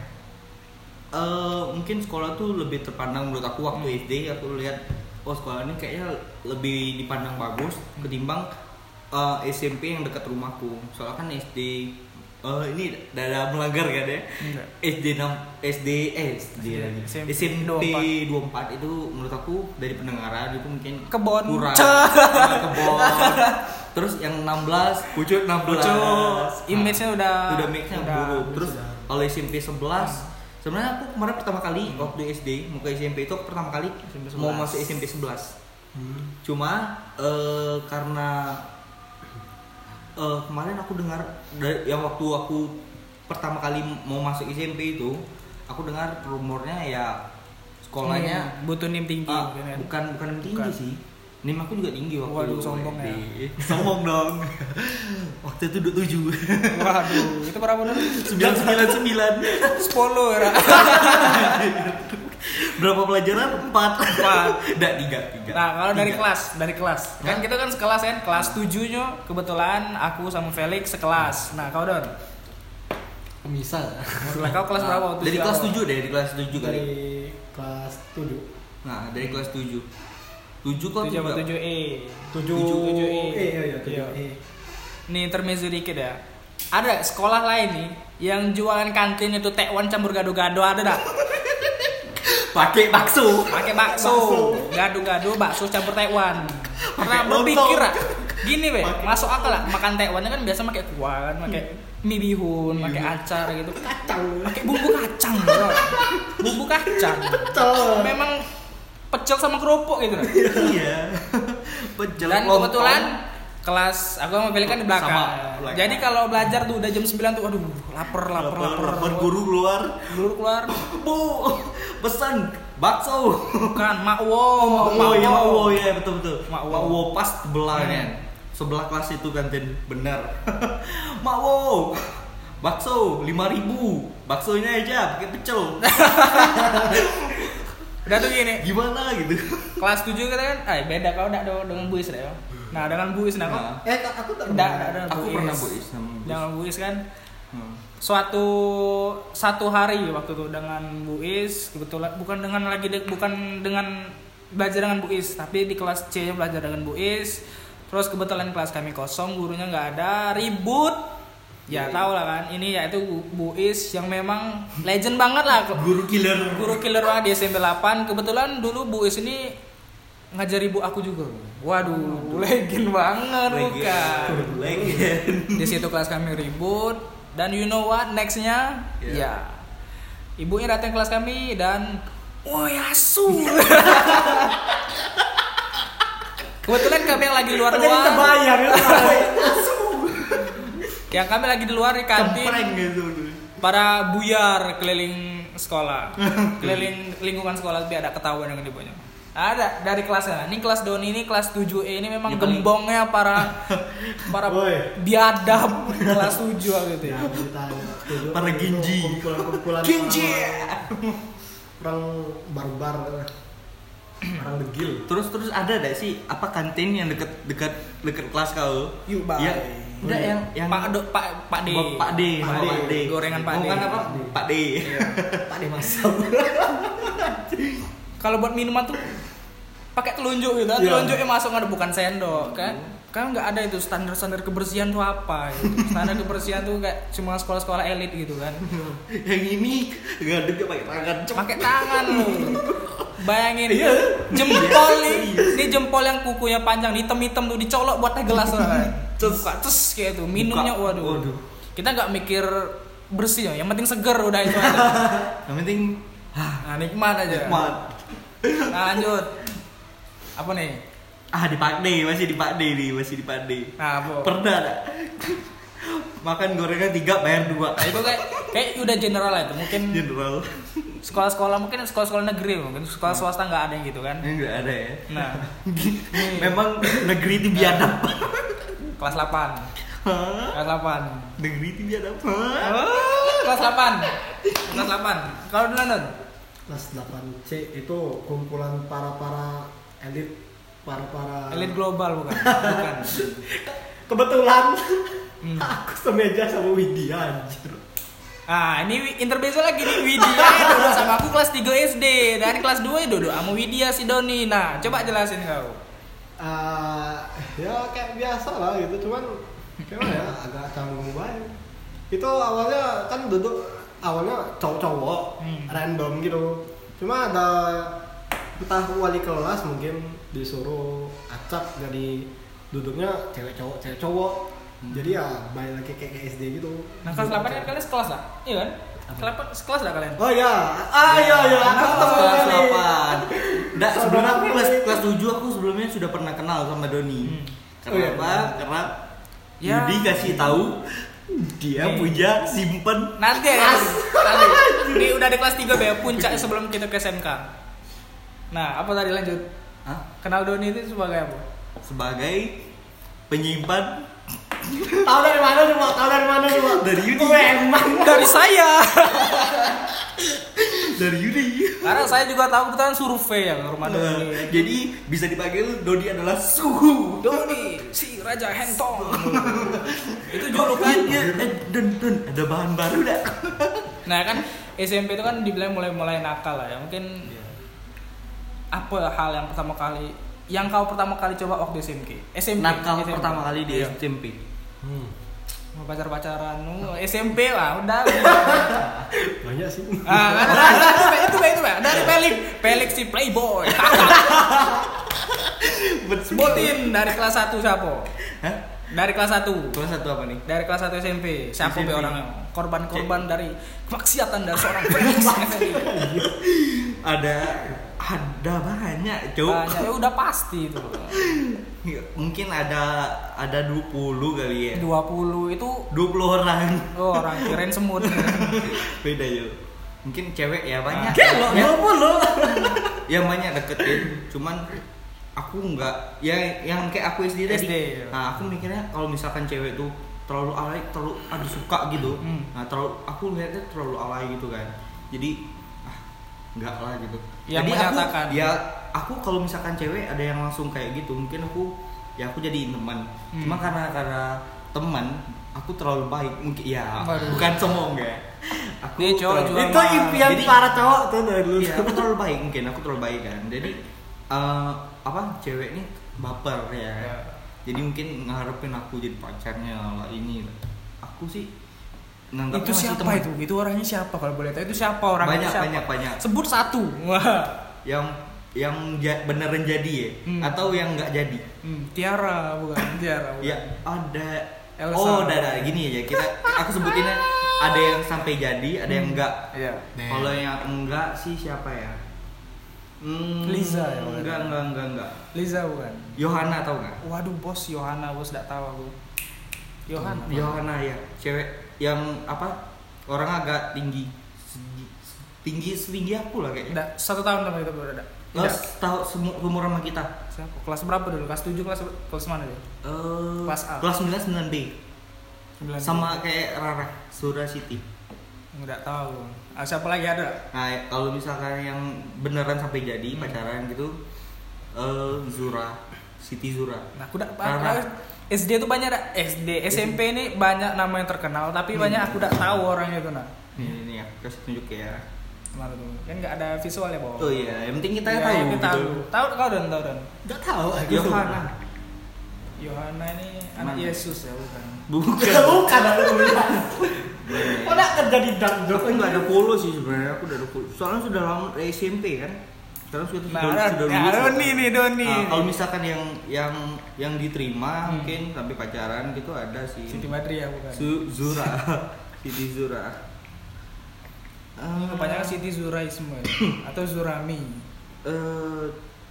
Speaker 1: Eh mungkin sekolah tuh lebih terpandang menurut aku waktu SD aku lihat oh sekolah ini kayaknya lebih dipandang bagus ketimbang eh, SMP yang dekat rumahku. Soalnya kan SD eh, ini dada melanggar kan ya?
Speaker 3: Enggak.
Speaker 1: SD 6 SD eh SD lagi.
Speaker 3: SMP
Speaker 1: SMP 24
Speaker 3: 24.
Speaker 1: itu menurut aku dari pendengaran itu mungkin
Speaker 3: Kebon.
Speaker 1: kurang
Speaker 3: Cah.
Speaker 1: Nah, kebon terus yang 16 pucuk 16
Speaker 3: lucu image-nya udah
Speaker 1: Nah, udah make-nya
Speaker 3: udah. Hmm.
Speaker 1: buruk terus
Speaker 2: Sudah.
Speaker 1: kalau SMP 11 sebenarnya aku kemarin pertama kali waktu SD mau ke SMP itu aku pertama kali
Speaker 3: SMP
Speaker 1: mau
Speaker 3: 11.
Speaker 1: masuk SMP 11 cuma eh, karena eh, kemarin aku dengar dari yang waktu aku pertama kali mau masuk SMP itu aku dengar rumornya ya sekolahnya
Speaker 3: Hmm, butuh nim tinggi
Speaker 1: ah,
Speaker 3: mungkin kan.
Speaker 1: bukan bukan tinggi
Speaker 3: Bukan.
Speaker 1: sih Nim aku juga tinggi waktu
Speaker 3: Waduh, sombong ya.
Speaker 1: SD. Sombong dong. waktu itu 27.
Speaker 3: Waduh, itu berapa dulu?
Speaker 1: 999.
Speaker 3: 10 era.
Speaker 1: Berapa pelajaran? 4. 4. Enggak, 3, 3.
Speaker 3: Nah, kalau dari kelas, dari kelas. Kan kita kan sekelas kan, kelas 7 nyo kebetulan aku sama Felix sekelas. Nah, kau Don.
Speaker 4: misal
Speaker 3: Nah, kau kelas berapa waktu
Speaker 1: Dari
Speaker 3: itu?
Speaker 1: kelas 7 deh, dari kelas 7 kali.
Speaker 2: dari kelas 7
Speaker 1: Nah, dari kelas 7. 7 kok
Speaker 3: 7 sama
Speaker 1: 7.
Speaker 3: 7E. 7
Speaker 2: 7
Speaker 3: E.
Speaker 2: eh iya iya 7
Speaker 3: Iya.
Speaker 2: eh
Speaker 3: Nih, intermezzo dikit ya. Ada sekolah lain nih yang jualan kantin itu tekwan campur gado-gado ada dah.
Speaker 1: Pakai bakso.
Speaker 3: Pakai bakso, gado-gado, bakso campur tekwan.
Speaker 1: Pakai
Speaker 3: Pernah berpikir
Speaker 1: lontong.
Speaker 3: ah, gini weh, masuk akal lah makan tekwannya kan biasa pakai kuah kan, pakai
Speaker 1: Hmm.
Speaker 3: mie bihun, pakai
Speaker 1: Iya.
Speaker 3: acar gitu.
Speaker 2: kacang
Speaker 3: pakai bumbu kacang bro. bumbu kacang
Speaker 2: Betul.
Speaker 3: memang pecel sama kerupuk gitu loh.
Speaker 1: Iya. Pecel
Speaker 3: dan
Speaker 1: lontong.
Speaker 3: kebetulan kelas aku sama Feli kan di belakang
Speaker 1: Sama, belakang.
Speaker 3: jadi kalau belajar tuh udah jam 9 tuh aduh lapar
Speaker 1: lapar
Speaker 3: lapar lapar,
Speaker 1: lapar guru keluar.
Speaker 3: Guru keluar
Speaker 1: Bu, pesan bakso.
Speaker 3: bukan makwo makwo
Speaker 1: Oh iya, oh iya betul betul.
Speaker 3: Mak
Speaker 1: Mak
Speaker 3: Wo.
Speaker 1: Wo pas sebelah
Speaker 3: Hmm.
Speaker 1: kan. Sebelah kelas itu kantin benar. Mak Wo. Bakso 5000. Baksonya aja pakai pecel.
Speaker 3: udah tuh gini
Speaker 1: Gimana gitu.
Speaker 3: kelas 7 kita kan eh beda kau enggak dengan buis deh nah dengan buis nah kau
Speaker 1: Nah,
Speaker 2: eh aku tak
Speaker 3: enggak enggak ada
Speaker 1: aku pernah Bu Islam.
Speaker 3: dengan buis kan
Speaker 1: Hmm.
Speaker 3: suatu satu hari waktu itu dengan Bu Is kebetulan bukan dengan lagi de- bukan dengan belajar dengan Bu Is tapi di kelas C belajar dengan Bu Is terus kebetulan kelas kami kosong gurunya nggak ada ribut ya tau lah kan ini yaitu Bu- Bu Is yang memang legend banget lah
Speaker 1: Guru killer.
Speaker 3: guru killer lah di SMP 8 kebetulan dulu Bu Is ini ngajar ibu aku juga waduh legend banget bukan
Speaker 1: Legend. Legend.
Speaker 3: di situ kelas kami ribut dan you know what nextnya
Speaker 1: Ya.
Speaker 3: ya ibunya datang kelas kami dan oh ya kebetulan kami yang lagi luar
Speaker 2: jadi
Speaker 3: luar
Speaker 2: terbayang ya
Speaker 3: yang Ya, kami lagi di luar di
Speaker 1: Cempreng
Speaker 3: kantin
Speaker 1: gitu.
Speaker 3: para buyar keliling sekolah keliling lingkungan sekolah tapi ada ketahuan dengan ibunya ada dari kelasnya ini kelas Doni ini kelas 7E ini memang
Speaker 1: Ini paling-
Speaker 3: gembongnya para para
Speaker 2: Woi. Iya.
Speaker 3: biadab kelas 7 gitu ya
Speaker 1: Para Genji.
Speaker 2: kumpulan
Speaker 3: Genji.
Speaker 2: orang barbar orang degil
Speaker 1: Terus terus ada gak sih apa kantin yang dekat dekat dekat kelas kau?
Speaker 3: Yuk, Oh,
Speaker 1: Ya,
Speaker 3: iya. Bang.
Speaker 1: enggak yang yang
Speaker 3: Pak Do, Pak Pak D.
Speaker 1: Bang Pak D,
Speaker 3: Pak D. Gorengan Pak D. Iya.
Speaker 1: Bukan apa? Pak D.
Speaker 4: Pak De masuk
Speaker 3: Kalau buat minuman tuh pakai telunjuk gitu, telunjuknya masuk ada bukan sendok kan? Kan nggak ada itu standar-standar kebersihan tuh apa gitu. Standar kebersihan tuh kayak cuma sekolah-sekolah elit gitu kan.
Speaker 1: yang ini nggak ada dia pakai tangan cuma
Speaker 3: Pakai tangan lu. Bayangin jempol nih, ini jempol yang kukunya panjang, hitam-hitam tuh dicolok buat teh gelas tuh, kan. Buka, terus kayak itu minumnya
Speaker 1: Buka.
Speaker 3: waduh.
Speaker 1: Waduh.
Speaker 3: Kita nggak mikir bersih ya, yang penting seger udah itu aja.
Speaker 1: yang penting
Speaker 3: Nah, nikmat aja.
Speaker 1: nikmat
Speaker 3: Nah, lanjut. Apa nih?
Speaker 1: ah di Pak D masih di Pak D nih masih di Pak D
Speaker 3: Nah, apa?
Speaker 1: pernah ada makan gorengan tiga bayar dua
Speaker 3: Nah, itu kayak kayak udah general lah itu. Mungkin
Speaker 1: general
Speaker 3: sekolah-sekolah mungkin sekolah-sekolah negeri mungkin sekolah swasta nggak ada yang gitu kan.
Speaker 1: ini nggak ada ya
Speaker 3: Nah,
Speaker 1: memang negeri itu biadab
Speaker 3: kelas 8.
Speaker 1: Hah?
Speaker 3: Kelas 8.
Speaker 1: negeri itu biadab Hah?
Speaker 3: Oh, kelas 8. Kelas 8. Kalau dulu Nun?
Speaker 2: kelas 8 C itu kumpulan para para elit para para
Speaker 3: Elit global bukan? Bukan.
Speaker 2: kebetulan
Speaker 3: Hmm.
Speaker 2: aku semeja sama Widya anjir
Speaker 3: Ah, ini intermezzo lagi nih Widya Dodo sama aku kelas 3 SD dan kelas 2 Dodo sama Widya si Doni. Nah, coba jelasin kau.
Speaker 2: Eh, ya kayak biasa lah gitu cuman gimana ya agak canggung banget itu awalnya kan duduk awalnya cowok-cowok
Speaker 3: Hmm.
Speaker 2: random gitu cuma ada entah wali kelas mungkin disuruh acak jadi duduknya cewek cowok cewek cowok jadi ya balik lagi kayak ke SD gitu
Speaker 3: Nah, kelas 8 kan kalian sekelas lah. Iya kan? Kelas 8 sekelas lah kalian.
Speaker 2: oh ya ah ya ya aku
Speaker 1: Kelas
Speaker 2: ketemu kali.
Speaker 1: delapan. Nggak,
Speaker 2: Kelas
Speaker 1: sebelum aku
Speaker 2: delapan.
Speaker 1: kelas kelas tujuh aku sebelumnya sudah pernah kenal sama Doni.
Speaker 3: Hmm.
Speaker 1: Karena
Speaker 2: Oh, iya.
Speaker 1: apa? Karena
Speaker 3: Ya.
Speaker 1: Yudi kasih tahu dia
Speaker 3: Nih.
Speaker 2: Hmm.
Speaker 1: punya simpen
Speaker 3: Nanti ya. Nanti. Ini udah di kelas 3 ya, puncak sebelum kita ke SMK. Nah, apa tadi lanjut?
Speaker 1: Hah?
Speaker 3: Kenal Doni itu sebagai apa?
Speaker 1: Sebagai penyimpan
Speaker 2: Tahu dari mana lu, Mak? Tahu dari mana lu, Mak?
Speaker 1: Dari Yudi.
Speaker 2: Gue emang.
Speaker 3: Dari saya.
Speaker 1: dari Yudi.
Speaker 3: Karena saya juga tahu kebetulan survei ya ke rumah Doni.
Speaker 1: Eh, Jadi bisa dipanggil Dodi adalah suhu.
Speaker 3: Doni, si Raja Hentong. itu
Speaker 1: Iya,
Speaker 3: julukannya.
Speaker 1: eh, Don, Don, ada bahan baru dah.
Speaker 3: Nah kan SMP itu kan dibilang mulai-mulai nakal lah ya. Mungkin apa hal yang pertama kali yang kau pertama kali coba waktu SMK? SMP.
Speaker 1: Nakal
Speaker 3: SMP.
Speaker 1: pertama kali di
Speaker 3: Iya.
Speaker 1: SMP.
Speaker 4: Hmm.
Speaker 3: Mau pacar-pacaran nu SMP lah udah.
Speaker 2: Banyak sih.
Speaker 3: ah, kan, nah, nah, itu Pak, itu Pak, itu Pak. dari Felix, Felix si playboy. Sebutin dari kelas 1 siapa?
Speaker 1: Hah?
Speaker 3: Dari kelas 1.
Speaker 1: Kelas satu apa nih?
Speaker 3: dari kelas 1 SMP siapa
Speaker 1: SMP.
Speaker 3: be orangnya korban-korban dari kemaksiatan dari seorang Felix
Speaker 1: Ada ada banyak, Cuk.
Speaker 3: banyak ya udah pasti itu
Speaker 1: Ya, Mungkin ada ada 20 kali ya.
Speaker 3: 20 itu
Speaker 1: 20 orang.
Speaker 3: oh, orang keren semut
Speaker 1: Beda, Cuk. Mungkin cewek ya banyak.
Speaker 3: Gelo,
Speaker 1: Ya,
Speaker 3: 20
Speaker 1: yang banyak deketin cuman aku nggak ya yang kayak aku SD tadi
Speaker 3: SD, ya.
Speaker 1: nah aku mikirnya kalau misalkan cewek tuh terlalu alay terlalu aduh suka gitu
Speaker 3: Hmm.
Speaker 1: nah terlalu aku lihatnya terlalu alay gitu kan jadi ah nggak lah gitu
Speaker 3: Yang
Speaker 1: jadi
Speaker 3: menyatakan.
Speaker 1: aku ya aku kalau misalkan cewek ada yang langsung kayak gitu mungkin aku ya aku jadi teman
Speaker 3: Hmm.
Speaker 1: cuma karena karena teman aku terlalu baik mungkin ya
Speaker 3: Waduh.
Speaker 1: bukan sombong ya aku
Speaker 3: Dia cowok
Speaker 1: terlalu-
Speaker 3: juga
Speaker 2: Itu
Speaker 3: Bang.
Speaker 2: impian
Speaker 1: Jadi-
Speaker 2: para cowok tuh dari dulu.
Speaker 1: Iya, aku terlalu baik mungkin, aku terlalu baik kan. Jadi eh, apa cewek ini baper ya. kan.
Speaker 3: Ya.
Speaker 1: Jadi mungkin ngarepin aku jadi pacarnya lah ini. lah. Aku sih nganggapnya
Speaker 3: itu
Speaker 1: masih
Speaker 3: siapa
Speaker 1: teman.
Speaker 3: itu itu orangnya siapa kalau boleh tahu itu siapa orangnya
Speaker 1: Banyak,
Speaker 3: itu siapa?
Speaker 1: banyak, banyak.
Speaker 3: sebut satu wah
Speaker 1: Yang yang ja- beneran jadi ya
Speaker 3: Hmm.
Speaker 1: atau yang nggak jadi?
Speaker 3: Hmm, Tiara bukan Tiara bukan.
Speaker 1: Ya ada
Speaker 3: Elsa.
Speaker 1: Oh, ada, ada gini aja. Kita aku sebutinnya ada yang sampai jadi, ada yang enggak.
Speaker 3: Iya.
Speaker 4: Nah.
Speaker 1: Kalau yang enggak sih siapa ya? Hmm,
Speaker 3: Liza ya,
Speaker 1: enggak,
Speaker 3: bukan?
Speaker 1: enggak, enggak, enggak, enggak.
Speaker 3: Liza bukan
Speaker 1: Yohana tau nggak?
Speaker 3: waduh bos Yohana bos tidak tahu aku Yohana
Speaker 1: Yohana ya, cewek yang apa? Orang agak tinggi, Segi- tinggi setinggi aku lah kayaknya.
Speaker 3: Nggak, satu tahun sama kita berada
Speaker 1: Terus tahu semua umur sama kita.
Speaker 3: Siapa? Kelas berapa dulu? Kelas 7 kelas kelas mana dia?
Speaker 1: Eh,
Speaker 3: Kelas A.
Speaker 1: Kelas 9 9 B.
Speaker 3: 9.
Speaker 1: Sama kayak Rara, Sura City.
Speaker 3: enggak tahu. Ah, siapa lagi ada?
Speaker 1: Nah, kalau misalkan yang beneran sampai jadi
Speaker 3: Hmm.
Speaker 1: pacaran gitu eh Zura, Siti Zura.
Speaker 3: Nah, aku dak
Speaker 1: Rara.
Speaker 3: SD itu banyak dak SD, SMP ini banyak nama yang terkenal, tapi
Speaker 1: Hmm.
Speaker 3: banyak aku dak tahu orangnya itu nah.
Speaker 1: Ini, ini ya, kasih tunjuk ya.
Speaker 3: Mana tuh? Kan enggak ada visual ya, Bang.
Speaker 1: Oh iya, yang penting kita
Speaker 3: Ya,
Speaker 1: tahu.
Speaker 3: Kita tahu.
Speaker 1: gitu.
Speaker 3: Tahu kau dan tahu dan.
Speaker 4: Gak tahu aku.
Speaker 1: Yohana.
Speaker 3: Yohana ini anak
Speaker 1: Mana?
Speaker 3: Yesus ya, bukan. Iya.
Speaker 1: Bukan.
Speaker 2: Bukan aku bilang. Kok
Speaker 1: Bukan.
Speaker 2: nak kerja di dark joke?
Speaker 1: Aku nggak ada polo sih sebenarnya, aku udah ada polo. Soalnya sudah lama dari SMP kan. Sekarang sudah
Speaker 3: Nah,
Speaker 1: sudah,
Speaker 3: ada-
Speaker 1: sudah
Speaker 3: nah, Doni nih, Doni.
Speaker 1: Nah, kalau misalkan yang yang yang diterima
Speaker 3: Hmm.
Speaker 1: mungkin sampai pacaran gitu ada sih.
Speaker 3: Siti Badriah ya, bukan.
Speaker 1: Su- Zura, Siti Zura. Eh,
Speaker 3: Kebanyakan Siti Zurai semua kan ya. atau Zurami.
Speaker 1: eh,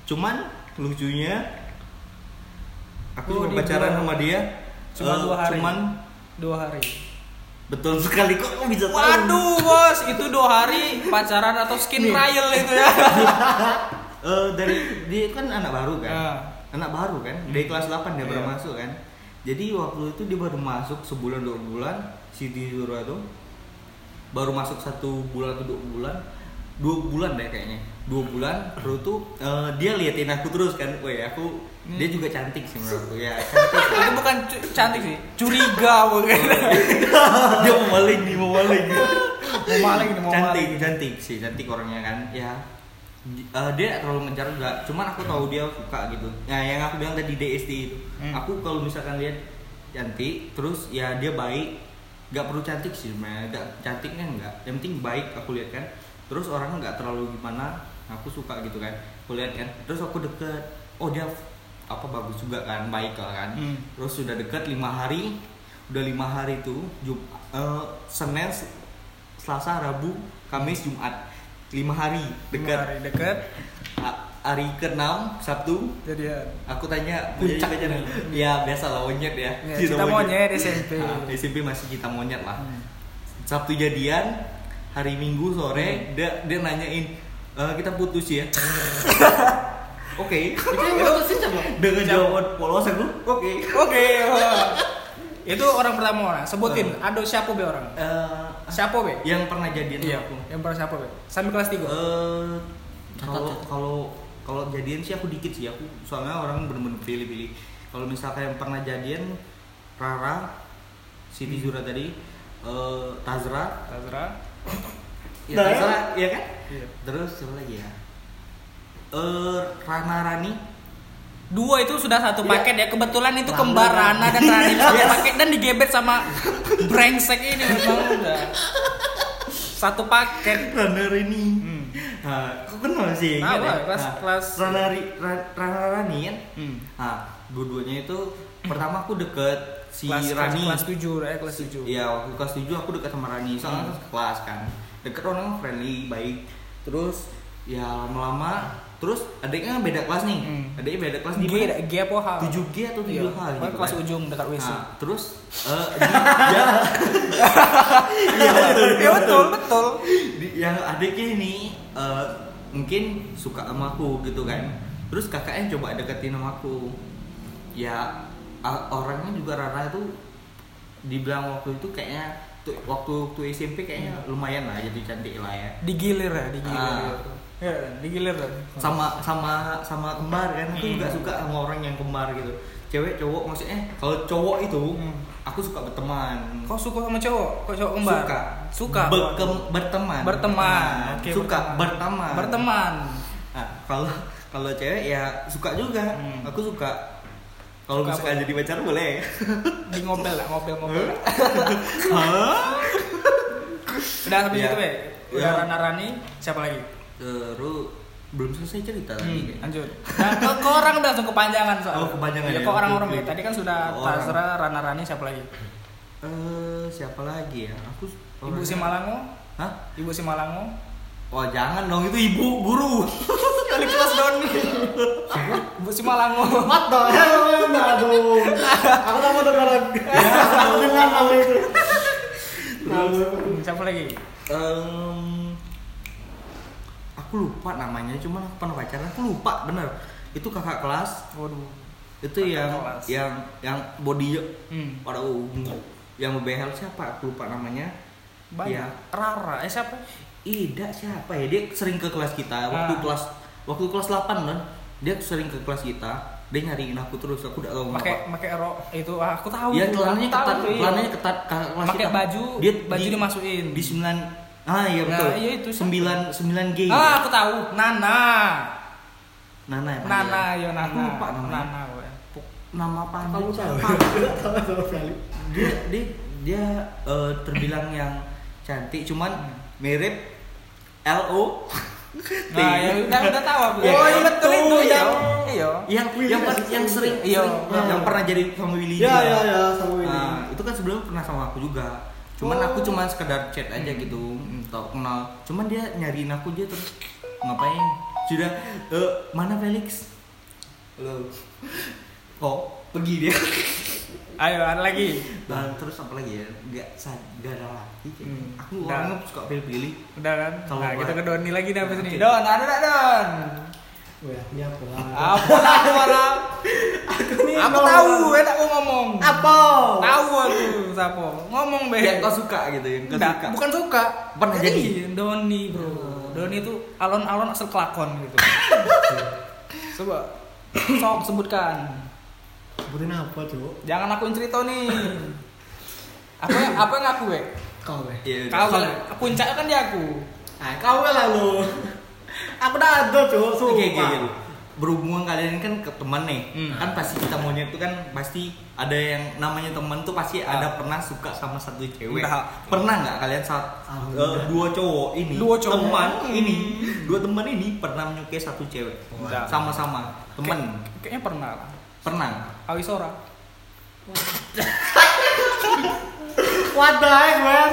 Speaker 1: cuman lucunya aku
Speaker 3: Oh,
Speaker 1: cuma
Speaker 3: di
Speaker 1: pacaran
Speaker 3: dua-
Speaker 1: sama dia
Speaker 3: cuma
Speaker 1: eh,
Speaker 3: dua hari.
Speaker 1: Cuman
Speaker 3: Dua hari.
Speaker 1: betul sekali kok kamu bisa tahu?
Speaker 3: Waduh bos, itu dua hari pacaran atau skin trial itu ya.
Speaker 1: Eh, dari dia kan anak baru kan
Speaker 3: Ah.
Speaker 1: anak baru kan dari kelas 8 dia baru
Speaker 3: Iya.
Speaker 1: masuk kan jadi waktu itu dia baru masuk sebulan dua bulan si Dizura tuh baru masuk satu bulan atau dua bulan dua bulan deh kayaknya dua bulan terus tuh eh, dia liatin aku terus kan weh aku dia
Speaker 3: Hmm.
Speaker 1: juga cantik sih menurutku ya cantik
Speaker 3: itu bukan cu- cantik sih, curiga mungkin.
Speaker 1: dia mau maling dia mau maling
Speaker 3: iya. mau maling,
Speaker 1: Iya.
Speaker 3: mau
Speaker 1: cantik
Speaker 3: maling.
Speaker 1: cantik sih cantik orangnya kan ya Di- eh, dia nggak terlalu ngejar juga cuman aku tahu dia suka gitu nah yang aku bilang tadi DST itu
Speaker 3: Hmm.
Speaker 1: aku kalau misalkan lihat cantik terus ya dia baik nggak perlu cantik sih sebenarnya nggak cantik kan nggak yang penting baik aku lihat kan terus orangnya nggak terlalu gimana aku suka gitu kan aku lihat kan terus aku deket oh dia apa bagus juga kan baik lah kan
Speaker 3: Hmm.
Speaker 1: terus sudah dekat lima hari udah lima hari itu Jum, eh, Senin Selasa Rabu Kamis Jumat lima hari dekat
Speaker 3: Dekat. Hari dekat.
Speaker 1: A- hari ke Sabtu
Speaker 3: Jadi ya.
Speaker 1: aku tanya puncak aja nih. ya biasa lah monyet ya,
Speaker 3: Ya, kita monyet SMP.
Speaker 1: Nah, SMP masih kita monyet lah
Speaker 3: Hmm.
Speaker 1: Sabtu jadian
Speaker 3: Hmm.
Speaker 1: hari Minggu sore dia dia nanyain "Eh, kita putus ya Oke.
Speaker 4: Itu yang baru sih coba.
Speaker 1: Dengan jawaban polos aku. Oke.
Speaker 3: Oke. wah. Itu orang pertama orang. Sebutin, ada siapa be orang?
Speaker 1: Eh,
Speaker 3: Hmm. Siapa be?
Speaker 1: yang pernah jadian sama
Speaker 3: Iya,
Speaker 1: aku.
Speaker 3: yang pernah siapa be? Sampai kelas
Speaker 1: Eh,
Speaker 3: 3.
Speaker 1: kalau
Speaker 4: Catat, catat.
Speaker 1: kalau kalau jadian sih aku dikit sih aku soalnya orang bener-bener pilih-pilih kalau misalkan yang pernah jadian Rara Siti Zura tadi eh, Tazra
Speaker 3: Tazra.
Speaker 1: ya
Speaker 2: Nah,
Speaker 1: Tazra ya kan
Speaker 3: Iya.
Speaker 1: terus siapa lagi ya eh Rana Rani
Speaker 3: Dua itu sudah satu paket ya. Kebetulan itu
Speaker 4: Lalu,
Speaker 3: kembar
Speaker 4: Bang.
Speaker 3: Rana dan Rani satu paket dan digebet sama brengsek ini memang udah. Satu paket.
Speaker 1: Rana Rani
Speaker 3: Hmm.
Speaker 1: Nah, aku kenal sih
Speaker 3: Tahu
Speaker 1: ingat
Speaker 3: lah,
Speaker 1: ya.
Speaker 3: kelas-
Speaker 1: Nah,
Speaker 3: kelas-
Speaker 1: Rana, Ri- Ra- Rana Rani kan
Speaker 3: Hmm.
Speaker 1: nah dua-duanya itu pertama aku deket si
Speaker 3: kelas,
Speaker 1: Rani
Speaker 3: kelas 7 ya, kelas 7.
Speaker 1: Iya, waktu kelas 7 aku dekat sama Rani, soalnya
Speaker 3: Hmm.
Speaker 1: kan kelas kan. Dekat orang friendly, baik. Terus ya lama-lama terus adiknya beda kelas nih.
Speaker 3: Hmm.
Speaker 1: Adiknya beda kelas di
Speaker 3: G,
Speaker 1: mana?
Speaker 3: G apa H?
Speaker 1: 7G atau 7H
Speaker 3: Iya,
Speaker 1: gitu.
Speaker 3: pokoknya kelas
Speaker 1: kan.
Speaker 3: ujung dekat WC.
Speaker 1: Nah, terus eh dia,
Speaker 3: Iya betul, betul, betul.
Speaker 1: di- yang adiknya ini eh, mungkin suka sama aku gitu kan. Terus kakaknya coba deketin sama aku. Ya a- orangnya juga Rara itu dibilang waktu itu kayaknya tu- waktu waktu SMP kayaknya
Speaker 3: Hmm.
Speaker 1: lumayan lah jadi cantik lah ya.
Speaker 3: Digilir ya, digilir.
Speaker 1: Ah.
Speaker 3: Ya, digilir. ya.
Speaker 1: sama sama sama kembar kan aku
Speaker 3: Hmm.
Speaker 1: juga suka sama orang yang kembar gitu cewek cowok maksudnya kalau cowok itu
Speaker 3: Hmm.
Speaker 1: aku suka berteman
Speaker 3: Kau suka sama cowok? Kau cowok kembar?
Speaker 1: suka
Speaker 3: Suka.
Speaker 1: Berkem- berteman Nah,
Speaker 3: Berteman. Oke,
Speaker 1: suka berteman
Speaker 3: Berteman.
Speaker 1: Nah, kalau kalau cewek ya suka juga
Speaker 3: Hmm.
Speaker 1: aku suka kalau
Speaker 3: Suka
Speaker 1: misalkan jadi pacar boleh
Speaker 3: Di ngobel lah, ngobel ngobel.
Speaker 1: Hah?
Speaker 3: Udah sampai
Speaker 1: Iya.
Speaker 3: situ be. Udah
Speaker 1: Iya.
Speaker 3: Rana Rani, siapa lagi?
Speaker 1: terus belum selesai cerita tadi
Speaker 3: Hmm,
Speaker 1: kayaknya.
Speaker 3: lanjut. Nah, kok, kok orang udah langsung kepanjangan soalnya.
Speaker 1: Oh, kepanjangan
Speaker 3: Iya,
Speaker 1: ya.
Speaker 3: kok orang-orang
Speaker 1: Oke,
Speaker 3: be.
Speaker 1: oke.
Speaker 3: Tadi kan sudah
Speaker 1: Oh, orang.
Speaker 3: Tazra, Rana Rani, siapa lagi?
Speaker 1: Eh, siapa lagi ya aku
Speaker 3: Ibu Simalango,
Speaker 1: Hah?
Speaker 3: Ibu Simalango.
Speaker 1: Oh jangan dong itu ibu guru
Speaker 3: Kali kelas don. Ibu Simalango.
Speaker 2: Mat dong, ya, aduh. Aku tak mau dengeran. Ya, Aku dengar nama itu. Lalu,
Speaker 3: Hmm, Siapa lagi?
Speaker 1: Em, aku lupa namanya, cuman aku pernah pacaran, aku lupa bener. Itu kakak kelas,
Speaker 3: Waduh.
Speaker 1: itu
Speaker 3: Kakak
Speaker 1: yang
Speaker 3: kelas.
Speaker 1: yang yang body
Speaker 3: Hmm.
Speaker 1: pada yang ngebehel siapa? Aku lupa namanya.
Speaker 3: Banyak.
Speaker 1: Iya.
Speaker 3: Rara, eh siapa?
Speaker 1: Ida siapa ya? Dia sering ke kelas kita waktu
Speaker 3: Ah.
Speaker 1: kelas waktu kelas 8 kan. Dia sering ke kelas kita. Dia nyariin aku terus, aku udah tahu
Speaker 3: Pakai
Speaker 1: kenapa.
Speaker 3: pakai rok itu ah, aku tahu.
Speaker 1: Oh, Iya,
Speaker 3: Aku
Speaker 1: celananya
Speaker 3: tahu
Speaker 1: ketat,
Speaker 3: tuh, iya.
Speaker 1: celananya ketat kakak kelas
Speaker 3: Pakai
Speaker 1: kita.
Speaker 3: baju,
Speaker 1: Dia
Speaker 3: baju
Speaker 1: di-
Speaker 3: dimasukin.
Speaker 1: di 9 Ah iya
Speaker 3: Nah,
Speaker 1: betul.
Speaker 3: iya, itu siapa?
Speaker 1: 9 9 G.
Speaker 3: Ah, aku tahu. Nana.
Speaker 1: Nana ya panggilan?
Speaker 3: Nana, yo Nana.
Speaker 1: Aku lupa namanya.
Speaker 3: Nana, iya. gue.
Speaker 1: Nama panjang.
Speaker 2: Kamu tahu? Tahu sama sekali.
Speaker 1: Dia dia dia eh, terbilang yang cantik cuman
Speaker 3: Hmm.
Speaker 1: mirip LO.
Speaker 3: Nah, ya udah udah tahu aku.
Speaker 1: Ya,
Speaker 3: Oh, iya
Speaker 1: itu
Speaker 3: betul itu yang iya.
Speaker 1: yang yang pas- yang sering
Speaker 3: Iya.
Speaker 1: sering- yang pernah jadi sama Willy
Speaker 2: Ya,
Speaker 1: juga.
Speaker 2: ya, ya, sama ini.
Speaker 1: Nah, itu kan sebelumnya pernah sama aku juga. Cuman
Speaker 2: Oh.
Speaker 1: aku cuman sekedar chat aja
Speaker 3: Hmm.
Speaker 1: gitu, tau kenal. Cuman dia nyariin aku dia terus ngapain? Sudah eh, mana Felix? Lo kok pergi dia?
Speaker 3: Ayo, ada lagi.
Speaker 1: Dan terus apa lagi ya? Gak sadar lagi. kayaknya.
Speaker 3: Hmm.
Speaker 1: Aku
Speaker 3: Nah.
Speaker 1: orangnya suka pilih-pilih.
Speaker 3: Udah kan?
Speaker 1: Kalau
Speaker 3: Nah, kita
Speaker 1: gua-
Speaker 3: ke Doni lagi dah habis ini.
Speaker 1: Oke.
Speaker 3: Don, ada enggak Don?
Speaker 2: Wah, ini aku lah.
Speaker 3: Apa lah suara? Aku tahu, enak aku ngomong.
Speaker 2: Apa?
Speaker 3: Tahu aku siapa. Ngomong be.
Speaker 1: Yang kau suka gitu, yang kau
Speaker 3: Nggak,
Speaker 1: suka.
Speaker 3: bukan suka.
Speaker 1: Pernah jadi?
Speaker 3: Iya, Doni, Bro. Doni itu alon-alon asal kelakon gitu. Coba sok sebutkan.
Speaker 2: Sebutin apa, Cuk?
Speaker 3: Jangan akuin cerita nih. Apa apa yang aku, Be?
Speaker 2: Kau, eh.
Speaker 1: Iya,
Speaker 2: weh.
Speaker 1: udah.
Speaker 3: Kau kan puncaknya kan di aku.
Speaker 2: Ah, kau weh lah lu. Aku dah ada, Cuk.
Speaker 1: Oke,
Speaker 2: Sumpah.
Speaker 1: oke, oke. Berhubungan kalian kan ke teman nih,
Speaker 3: Hmm.
Speaker 1: kan pasti kita maunya tuh kan pasti ada yang namanya teman tuh pasti
Speaker 3: Ah.
Speaker 1: ada pernah suka sama satu cewek.
Speaker 3: Entah.
Speaker 1: Pernah nggak kalian saat
Speaker 2: Alhamdulillah.
Speaker 1: eh, dua cowok ini,
Speaker 3: Dua cowok.
Speaker 1: teman
Speaker 3: Hmm.
Speaker 1: ini, dua teman ini pernah menyukai satu cewek
Speaker 3: Entah.
Speaker 1: sama-sama teman
Speaker 3: Kayak- kayaknya pernah lah.
Speaker 1: pernah.
Speaker 3: Awis ora.
Speaker 2: Wadah, eh, men.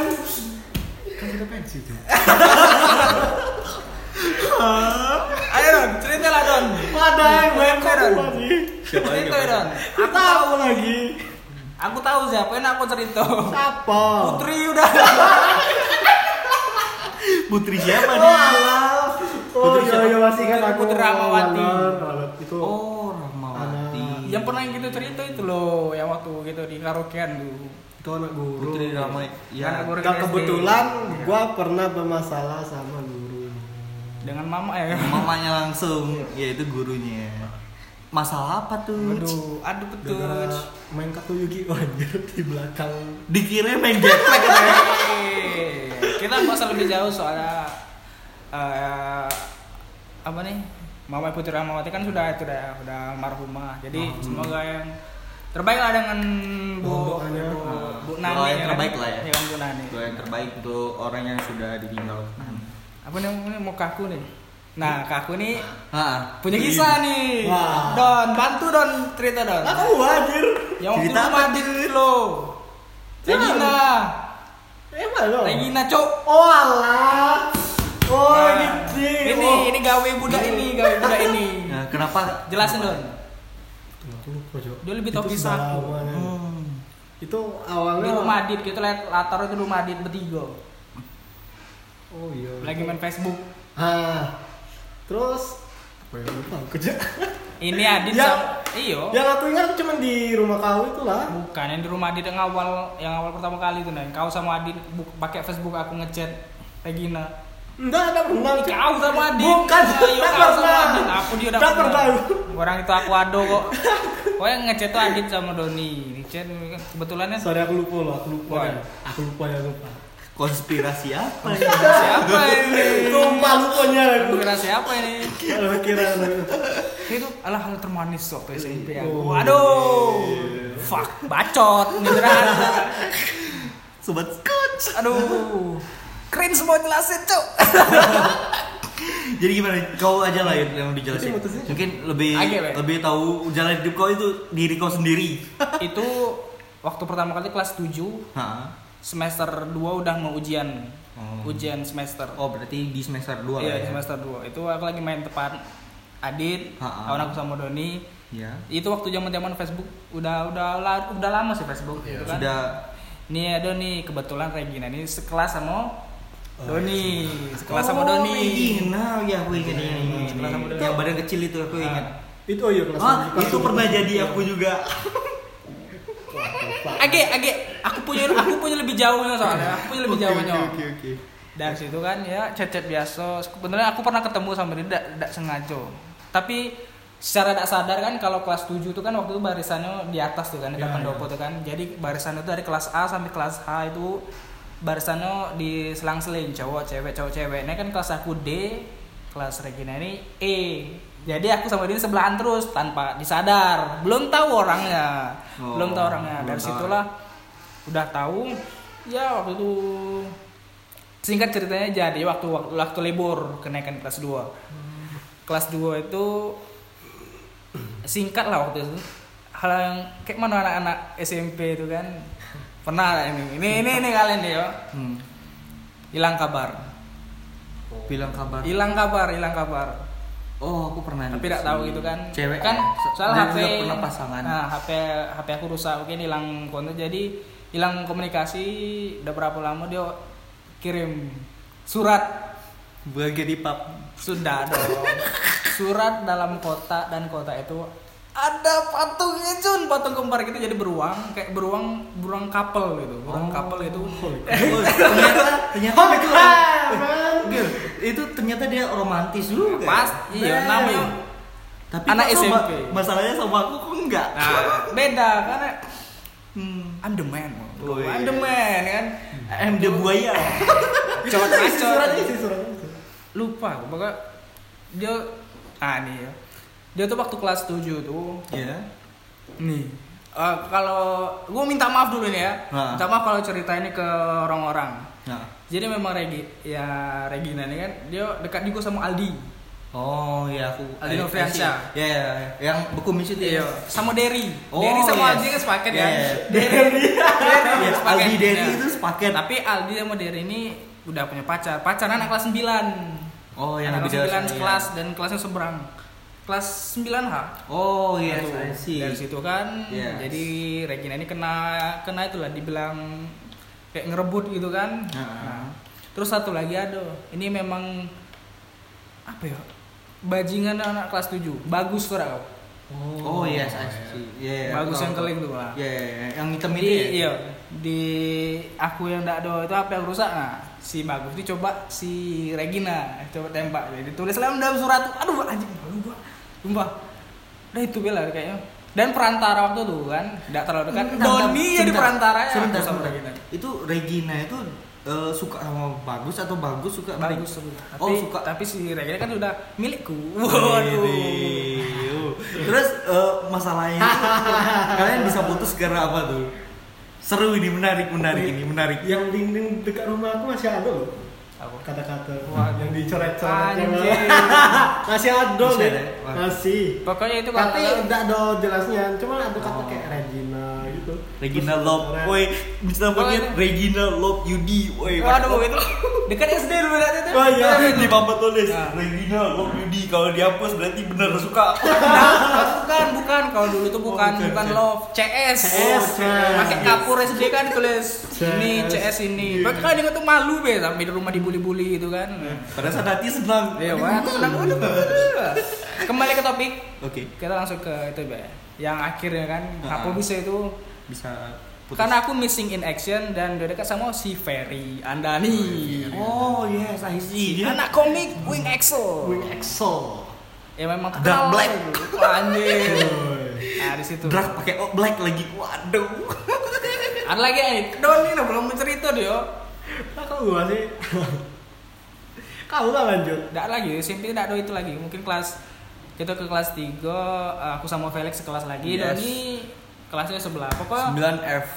Speaker 4: Kan kita pensi tuh.
Speaker 3: Ayo Don, cerita lah Don.
Speaker 2: Wadah, eh, men.
Speaker 3: Kau
Speaker 2: Kau
Speaker 3: Don.
Speaker 2: lagi.
Speaker 1: Siapa lagi?
Speaker 3: Cerita Don.
Speaker 2: Aku tahu lagi.
Speaker 3: Aku tahu siapa yang aku cerita.
Speaker 2: Oh. Siapa?
Speaker 3: Putri udah.
Speaker 1: Putri siapa nih?
Speaker 2: Walah. Oh iya iya masih ingat
Speaker 3: Putri-
Speaker 2: aku.
Speaker 3: Putri Rahmawati.
Speaker 2: Alon, alon. Itu
Speaker 1: Oh, Rahmawati.
Speaker 3: Yang pernah kita cerita itu loh, yang waktu gitu di karaokean dulu.
Speaker 2: itu anak guru.
Speaker 1: Putri Ramai. Ya.
Speaker 3: Anak guru
Speaker 2: Dan
Speaker 3: SD.
Speaker 2: kebetulan
Speaker 3: Iya.
Speaker 2: gua pernah bermasalah sama guru.
Speaker 3: dengan mama ya.
Speaker 1: Mamanya langsung, ya itu gurunya. Masalah apa tuh?
Speaker 3: Aduh, aduh betul.
Speaker 2: Gara-gara main kartu Yugi Oh, anjir di belakang.
Speaker 1: Dikira main jetlag katanya.
Speaker 3: Oke, kita nggak usah lebih jauh soalnya eh, apa nih Mama Putri Rahmawati kan sudah itu udah udah almarhumah. Jadi
Speaker 1: Hmm.
Speaker 3: semoga yang terbaik lah dengan Bu Bu,
Speaker 2: Doanya.
Speaker 3: Bu
Speaker 1: Doa
Speaker 3: Nani.
Speaker 1: yang
Speaker 3: kan?
Speaker 1: terbaik lah ya.
Speaker 3: kan, Bu Nani.
Speaker 1: Doa yang terbaik untuk orang yang sudah ditinggal.
Speaker 3: Apa nih ini mau kaku nih? Nah, kaku nih
Speaker 1: Ah,
Speaker 3: punya kisah nih.
Speaker 2: Wah.
Speaker 3: Don, bantu Don cerita Don.
Speaker 2: Aku anjir.
Speaker 3: Yang waktu
Speaker 1: cerita
Speaker 3: lu
Speaker 1: apa,
Speaker 3: mati lo. Regina,
Speaker 2: Emang lo.
Speaker 3: Regina, cok.
Speaker 2: Oh alah. Oh
Speaker 3: Nah,
Speaker 2: ini.
Speaker 3: ini
Speaker 2: oh.
Speaker 3: ini gawe budak ini gawe budak ini
Speaker 1: Nah, kenapa?
Speaker 3: jelasin dong
Speaker 2: Tunggu, tunggu, Cok.
Speaker 3: Dia lebih
Speaker 2: Itu
Speaker 3: tahu kisah aku.
Speaker 2: sembarangan.
Speaker 1: Hmm.
Speaker 2: Itu
Speaker 3: di
Speaker 2: awalnya
Speaker 3: rumah adit kita lihat latar itu rumah adit bertiga
Speaker 2: Oh iya.
Speaker 3: lagi main Facebook
Speaker 2: Ah. Terus apa ya lupa aku Cok.
Speaker 3: ini adit
Speaker 2: Ya.
Speaker 3: sama iyo
Speaker 2: Yang aku ingat cuma di rumah kau itulah.
Speaker 3: bukan yang di rumah adit yang awal yang awal pertama kali itu nih kau sama adit bu- pakai Facebook aku ngechat Regina
Speaker 2: Enggak ada pernah.
Speaker 3: Ih,
Speaker 2: Cok.
Speaker 3: kau sama adit
Speaker 2: Bukan,
Speaker 3: Ayo,
Speaker 2: tak
Speaker 3: kau sama
Speaker 2: pernah.
Speaker 3: adit aku dia udah
Speaker 2: Tak pernah.
Speaker 3: orang itu aku ado kok pokoknya ngechat tuh adit sama Doni ngechat kebetulannya
Speaker 2: Sorry aku lupa loh, aku lupa.
Speaker 3: Wah.
Speaker 2: ya. Aku lupa ya lupa.
Speaker 1: Konspirasi apa ya?
Speaker 3: siapa ini
Speaker 2: Lupa lupanya aku.
Speaker 3: kira siapa ini
Speaker 2: Kalau kira
Speaker 3: itu adalah hal termanis waktu SMP aku.
Speaker 2: Oh.
Speaker 3: Waduh, fuck, bacot, beneran.
Speaker 1: Sobat Scotch.
Speaker 3: Aduh, keren semua jelasin cok.
Speaker 1: Jadi gimana? Kau aja lah yang, yang dijelasin.
Speaker 2: Jadi mutusin.
Speaker 1: Mungkin lebih
Speaker 3: Oke, Pak.
Speaker 1: lebih tahu jalan hidup kau itu diri kau sendiri.
Speaker 3: itu waktu pertama kali kelas 7
Speaker 1: Hah?
Speaker 3: semester 2 udah mau ujian,
Speaker 1: Oh.
Speaker 3: ujian semester.
Speaker 1: Oh berarti di semester 2 lah
Speaker 3: iya
Speaker 1: ya?
Speaker 3: semester 2 Itu aku lagi main tepat Adit,
Speaker 1: Ha-ha.
Speaker 3: kawan aku sama Doni.
Speaker 1: Iya.
Speaker 3: Itu waktu zaman zaman Facebook udah udah la- udah lama sih Facebook. gitu
Speaker 1: Iya.
Speaker 3: kan.
Speaker 1: Sudah
Speaker 3: Nih ada nih kebetulan Regina ini sekelas sama
Speaker 2: Oh,
Speaker 3: Doni,
Speaker 1: iya.
Speaker 3: sekelas
Speaker 1: Oh,
Speaker 3: sama Doni.
Speaker 1: Nah, ya aku ingat yang ini.
Speaker 3: Sekelas sama Doni.
Speaker 1: Yang badan kecil itu aku
Speaker 3: Ah.
Speaker 1: ingat.
Speaker 2: itu oh iya kelas
Speaker 1: Ah,
Speaker 2: kelas
Speaker 1: itu
Speaker 2: dua.
Speaker 1: pernah jadi aku juga.
Speaker 2: Wah, lupa.
Speaker 3: Age, age, aku punya aku punya lebih jauhnya soalnya, aku punya lebih jauhnya.
Speaker 1: oke.
Speaker 3: Dari situ kan ya cecet biasa. Sebenarnya aku pernah ketemu sama dia tidak tidak sengaja. Tapi secara tidak sadar kan kalau kelas 7 itu kan waktu itu barisannya di atas tuh kan, di
Speaker 2: Ya,
Speaker 3: pendopo
Speaker 2: ya.
Speaker 3: tuh kan. Jadi barisannya itu dari kelas A sampai kelas H itu barisannya di selang-seling cowok cewek cowok cewek. Ini kan kelas aku D, kelas Regina ini E. Jadi aku sama dia sebelahan terus tanpa disadar. Belum tahu orangnya.
Speaker 1: Oh,
Speaker 3: belum tahu orangnya.
Speaker 1: belum
Speaker 3: Dari
Speaker 1: tahu. ya.
Speaker 3: situlah udah tahu ya waktu itu singkat ceritanya jadi waktu waktu, waktu libur kenaikan kelas 2
Speaker 1: Hmm.
Speaker 3: kelas 2 itu singkat lah waktu itu hal yang kayak mana anak-anak SMP itu kan pernah lah ini ini ini, ini kalian deh yo
Speaker 1: Hmm.
Speaker 3: hilang kabar
Speaker 1: Bilang kabar.
Speaker 3: hilang kabar hilang kabar
Speaker 1: Oh, aku pernah.
Speaker 3: tapi
Speaker 1: di-
Speaker 3: tidak tahu gitu kan
Speaker 1: Cewek
Speaker 3: kan
Speaker 1: ya?
Speaker 3: soal
Speaker 1: Dan
Speaker 3: HP
Speaker 1: juga pernah pasangan.
Speaker 3: nah HP HP aku rusak mungkin hilang konten jadi hilang komunikasi udah berapa lama dia kirim surat
Speaker 1: Bagai di pub.
Speaker 3: Sudah dong. Surat dalam kota dan kota itu ada patungnya Jun, patung kembar gitu jadi beruang, kayak beruang beruang kapel gitu. Beruang
Speaker 1: Oh.
Speaker 3: kapel itu.
Speaker 1: Oh, ternyata
Speaker 3: Oh,
Speaker 1: ternyata itu,
Speaker 2: Man.
Speaker 1: itu ternyata dia romantis juga.
Speaker 3: Pas iya
Speaker 1: Bel.
Speaker 3: namanya.
Speaker 1: Tapi
Speaker 3: Anak
Speaker 1: kok sama-
Speaker 3: SMP.
Speaker 1: Masalahnya sama aku kok enggak.
Speaker 3: Nah, beda karena
Speaker 1: Hmm.
Speaker 3: I'm the man.
Speaker 1: Oh, iya.
Speaker 3: I'm the man kan.
Speaker 1: I'm the buaya.
Speaker 3: Coba
Speaker 2: Isi surat isi surat.
Speaker 3: Lupa pokoknya dia ah nih ya. Dia tuh waktu kelas 7 tuh
Speaker 1: Iya.
Speaker 3: Nih, eh, kalau gue minta maaf dulu nih ya,
Speaker 1: Nah.
Speaker 3: minta maaf kalau cerita ini ke orang-orang.
Speaker 1: Nah.
Speaker 3: Jadi memang Regi, ya Regina ini kan dia dekat juga sama Aldi,
Speaker 1: Oh iya aku. I-
Speaker 3: Aldino
Speaker 1: I
Speaker 3: Friansyah.
Speaker 1: see. Iya iya. iya. Yang beku itu ya.
Speaker 3: Iya, sama Derry.
Speaker 1: Oh,
Speaker 3: Derry sama
Speaker 1: yes.
Speaker 3: Aldi kan sepaket
Speaker 1: Iya,
Speaker 3: kan.
Speaker 1: iya.
Speaker 3: Derry, Derry
Speaker 1: Iya,
Speaker 3: sepaket.
Speaker 1: Aldi Derry
Speaker 3: Ya.
Speaker 1: itu sepaket.
Speaker 3: Tapi Aldi sama Derry ini udah punya pacar, pacaran anak kelas 9
Speaker 1: Oh yang
Speaker 3: anak
Speaker 1: beda.
Speaker 3: kelas 9
Speaker 1: sama-
Speaker 3: kelas dan kelasnya seberang, kelas 9 h.
Speaker 1: Oh iya.
Speaker 3: Aduh,
Speaker 1: I see.
Speaker 3: dari situ kan
Speaker 1: Yes.
Speaker 3: jadi Regina ini kena kena itulah dibilang kayak ngerebut gitu kan
Speaker 1: Ah.
Speaker 3: Nah, terus satu lagi aduh ini memang apa ya bajingan anak kelas 7 bagus tuh Rao.
Speaker 1: Oh, iya, saya Iya, iya.
Speaker 3: bagus
Speaker 1: Tahu,
Speaker 3: yang
Speaker 1: tahu.
Speaker 3: keling tuh lah
Speaker 1: Iya, iya, iya. yang hitam ini.
Speaker 3: Jadi iya di aku yang ndak ada itu apa yang rusak nah si bagus dicoba si Regina eh, coba tembak jadi tulis dalam surat tuh aduh anjing malu gua sumpah udah itu bela kayaknya dan perantara waktu itu kan ndak terlalu dekat Doni jadi perantara ya
Speaker 1: Sebentar,
Speaker 3: aku sama Regina
Speaker 1: sebentar. Itu Regina itu eh, suka sama bagus atau bagus suka sama
Speaker 3: bagus
Speaker 1: Reg-
Speaker 3: tuh tapi,
Speaker 1: Oh, suka. Iya,
Speaker 3: tapi si Regina kan udah milikku waduh
Speaker 1: Waduh. Terus eh, masalahnya itu, kalian bisa putus karena apa tuh? Seru ini menarik menarik ini menarik.
Speaker 3: Iya.
Speaker 2: yang dinding dekat rumah aku masih ada loh
Speaker 3: Apa?
Speaker 2: kata-kata
Speaker 3: Wah,
Speaker 2: yang dicoret-coret yang-
Speaker 3: anjing
Speaker 2: masih ada
Speaker 1: Masih
Speaker 2: deh
Speaker 1: ada? Wah.
Speaker 2: masih
Speaker 3: pokoknya itu kalau-
Speaker 2: tapi
Speaker 3: kalau-
Speaker 2: enggak ada jelasnya cuma ada kata
Speaker 1: Oh.
Speaker 2: kayak Regina gitu
Speaker 1: Regina
Speaker 2: Terus
Speaker 1: Love,
Speaker 2: orang-
Speaker 1: woi, bisa namanya Regina Love Yudi, woi.
Speaker 3: Waduh itu dekat SD dulu berarti itu.
Speaker 1: Oh iya, di papan tulis
Speaker 3: Ah.
Speaker 1: Regina Love Yudi kalau dihapus berarti bener suka.
Speaker 3: Nah, bukan, bukan. Kalau dulu tuh bukan,
Speaker 1: Oh, bukan,
Speaker 3: bukan
Speaker 1: bukan.
Speaker 3: love, CS.
Speaker 2: CS.
Speaker 3: Pakai kapur SD kan tulis ini
Speaker 2: CS.
Speaker 3: CS
Speaker 1: Iya.
Speaker 3: ini. Bahkan kadang dia tuh malu be sampai di rumah dibully-bully gitu kan.
Speaker 1: Padahal saat hati senang.
Speaker 3: Iya, wah, aku senang Aduh, aduh. Kembali ke topik.
Speaker 1: Oke,
Speaker 3: Kita langsung ke itu be. Yang akhirnya kan
Speaker 1: Ah.
Speaker 3: apa bisa itu
Speaker 1: bisa putus.
Speaker 3: karena aku missing in action dan udah dekat sama si Ferry
Speaker 1: iya,
Speaker 3: Andani.
Speaker 1: Oh yes, I see. Dia kan
Speaker 3: Anak komik Wing Axel.
Speaker 2: Wing Excel
Speaker 3: Ya memang
Speaker 1: Dark
Speaker 3: terkenal.
Speaker 1: Black.
Speaker 3: Wah, Anjir. Nah, di situ.
Speaker 1: drag pakai oh, black lagi. Waduh.
Speaker 3: Ada lagi nih, Don ini belum bercerita dia.
Speaker 2: Ah, kok gua sih? Kau lah lanjut.
Speaker 3: Tidak lagi, simpel tidak ada itu lagi. Mungkin kelas kita ke kelas 3, aku sama Felix sekelas lagi.
Speaker 1: Yes.
Speaker 3: Doni kelasnya sebelah. Pokoknya,
Speaker 1: 9F.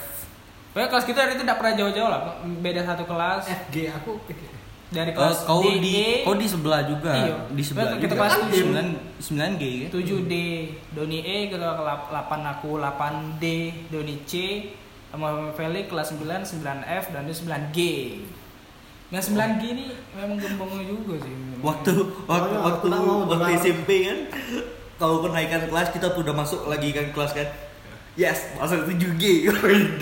Speaker 3: pokoknya kelas kita dari itu tidak pernah jauh-jauh lah. Beda satu kelas
Speaker 2: FG aku
Speaker 3: dari
Speaker 1: Eh,
Speaker 3: kelas
Speaker 1: kau
Speaker 3: D, E,
Speaker 1: di kau di sebelah juga.
Speaker 3: Iya.
Speaker 1: Di sebelah juga.
Speaker 3: Kita kelas
Speaker 1: Kan
Speaker 3: tujuh.
Speaker 1: 9 9G ya.
Speaker 3: 7D, Doni E, kita ke 8 aku, 8D, Doni C, sama Felix kelas 9, 9F, dan dia 9G. Nah 9G ini memang gembongnya juga sih.
Speaker 1: Waktu waktu
Speaker 2: Oh, iya,
Speaker 1: waktu,
Speaker 2: aku tahu,
Speaker 1: waktu
Speaker 2: benar.
Speaker 1: SMP kan kau kenaikan kelas kita tuh udah masuk lagi kan kelas kan. Yes, masa 7G.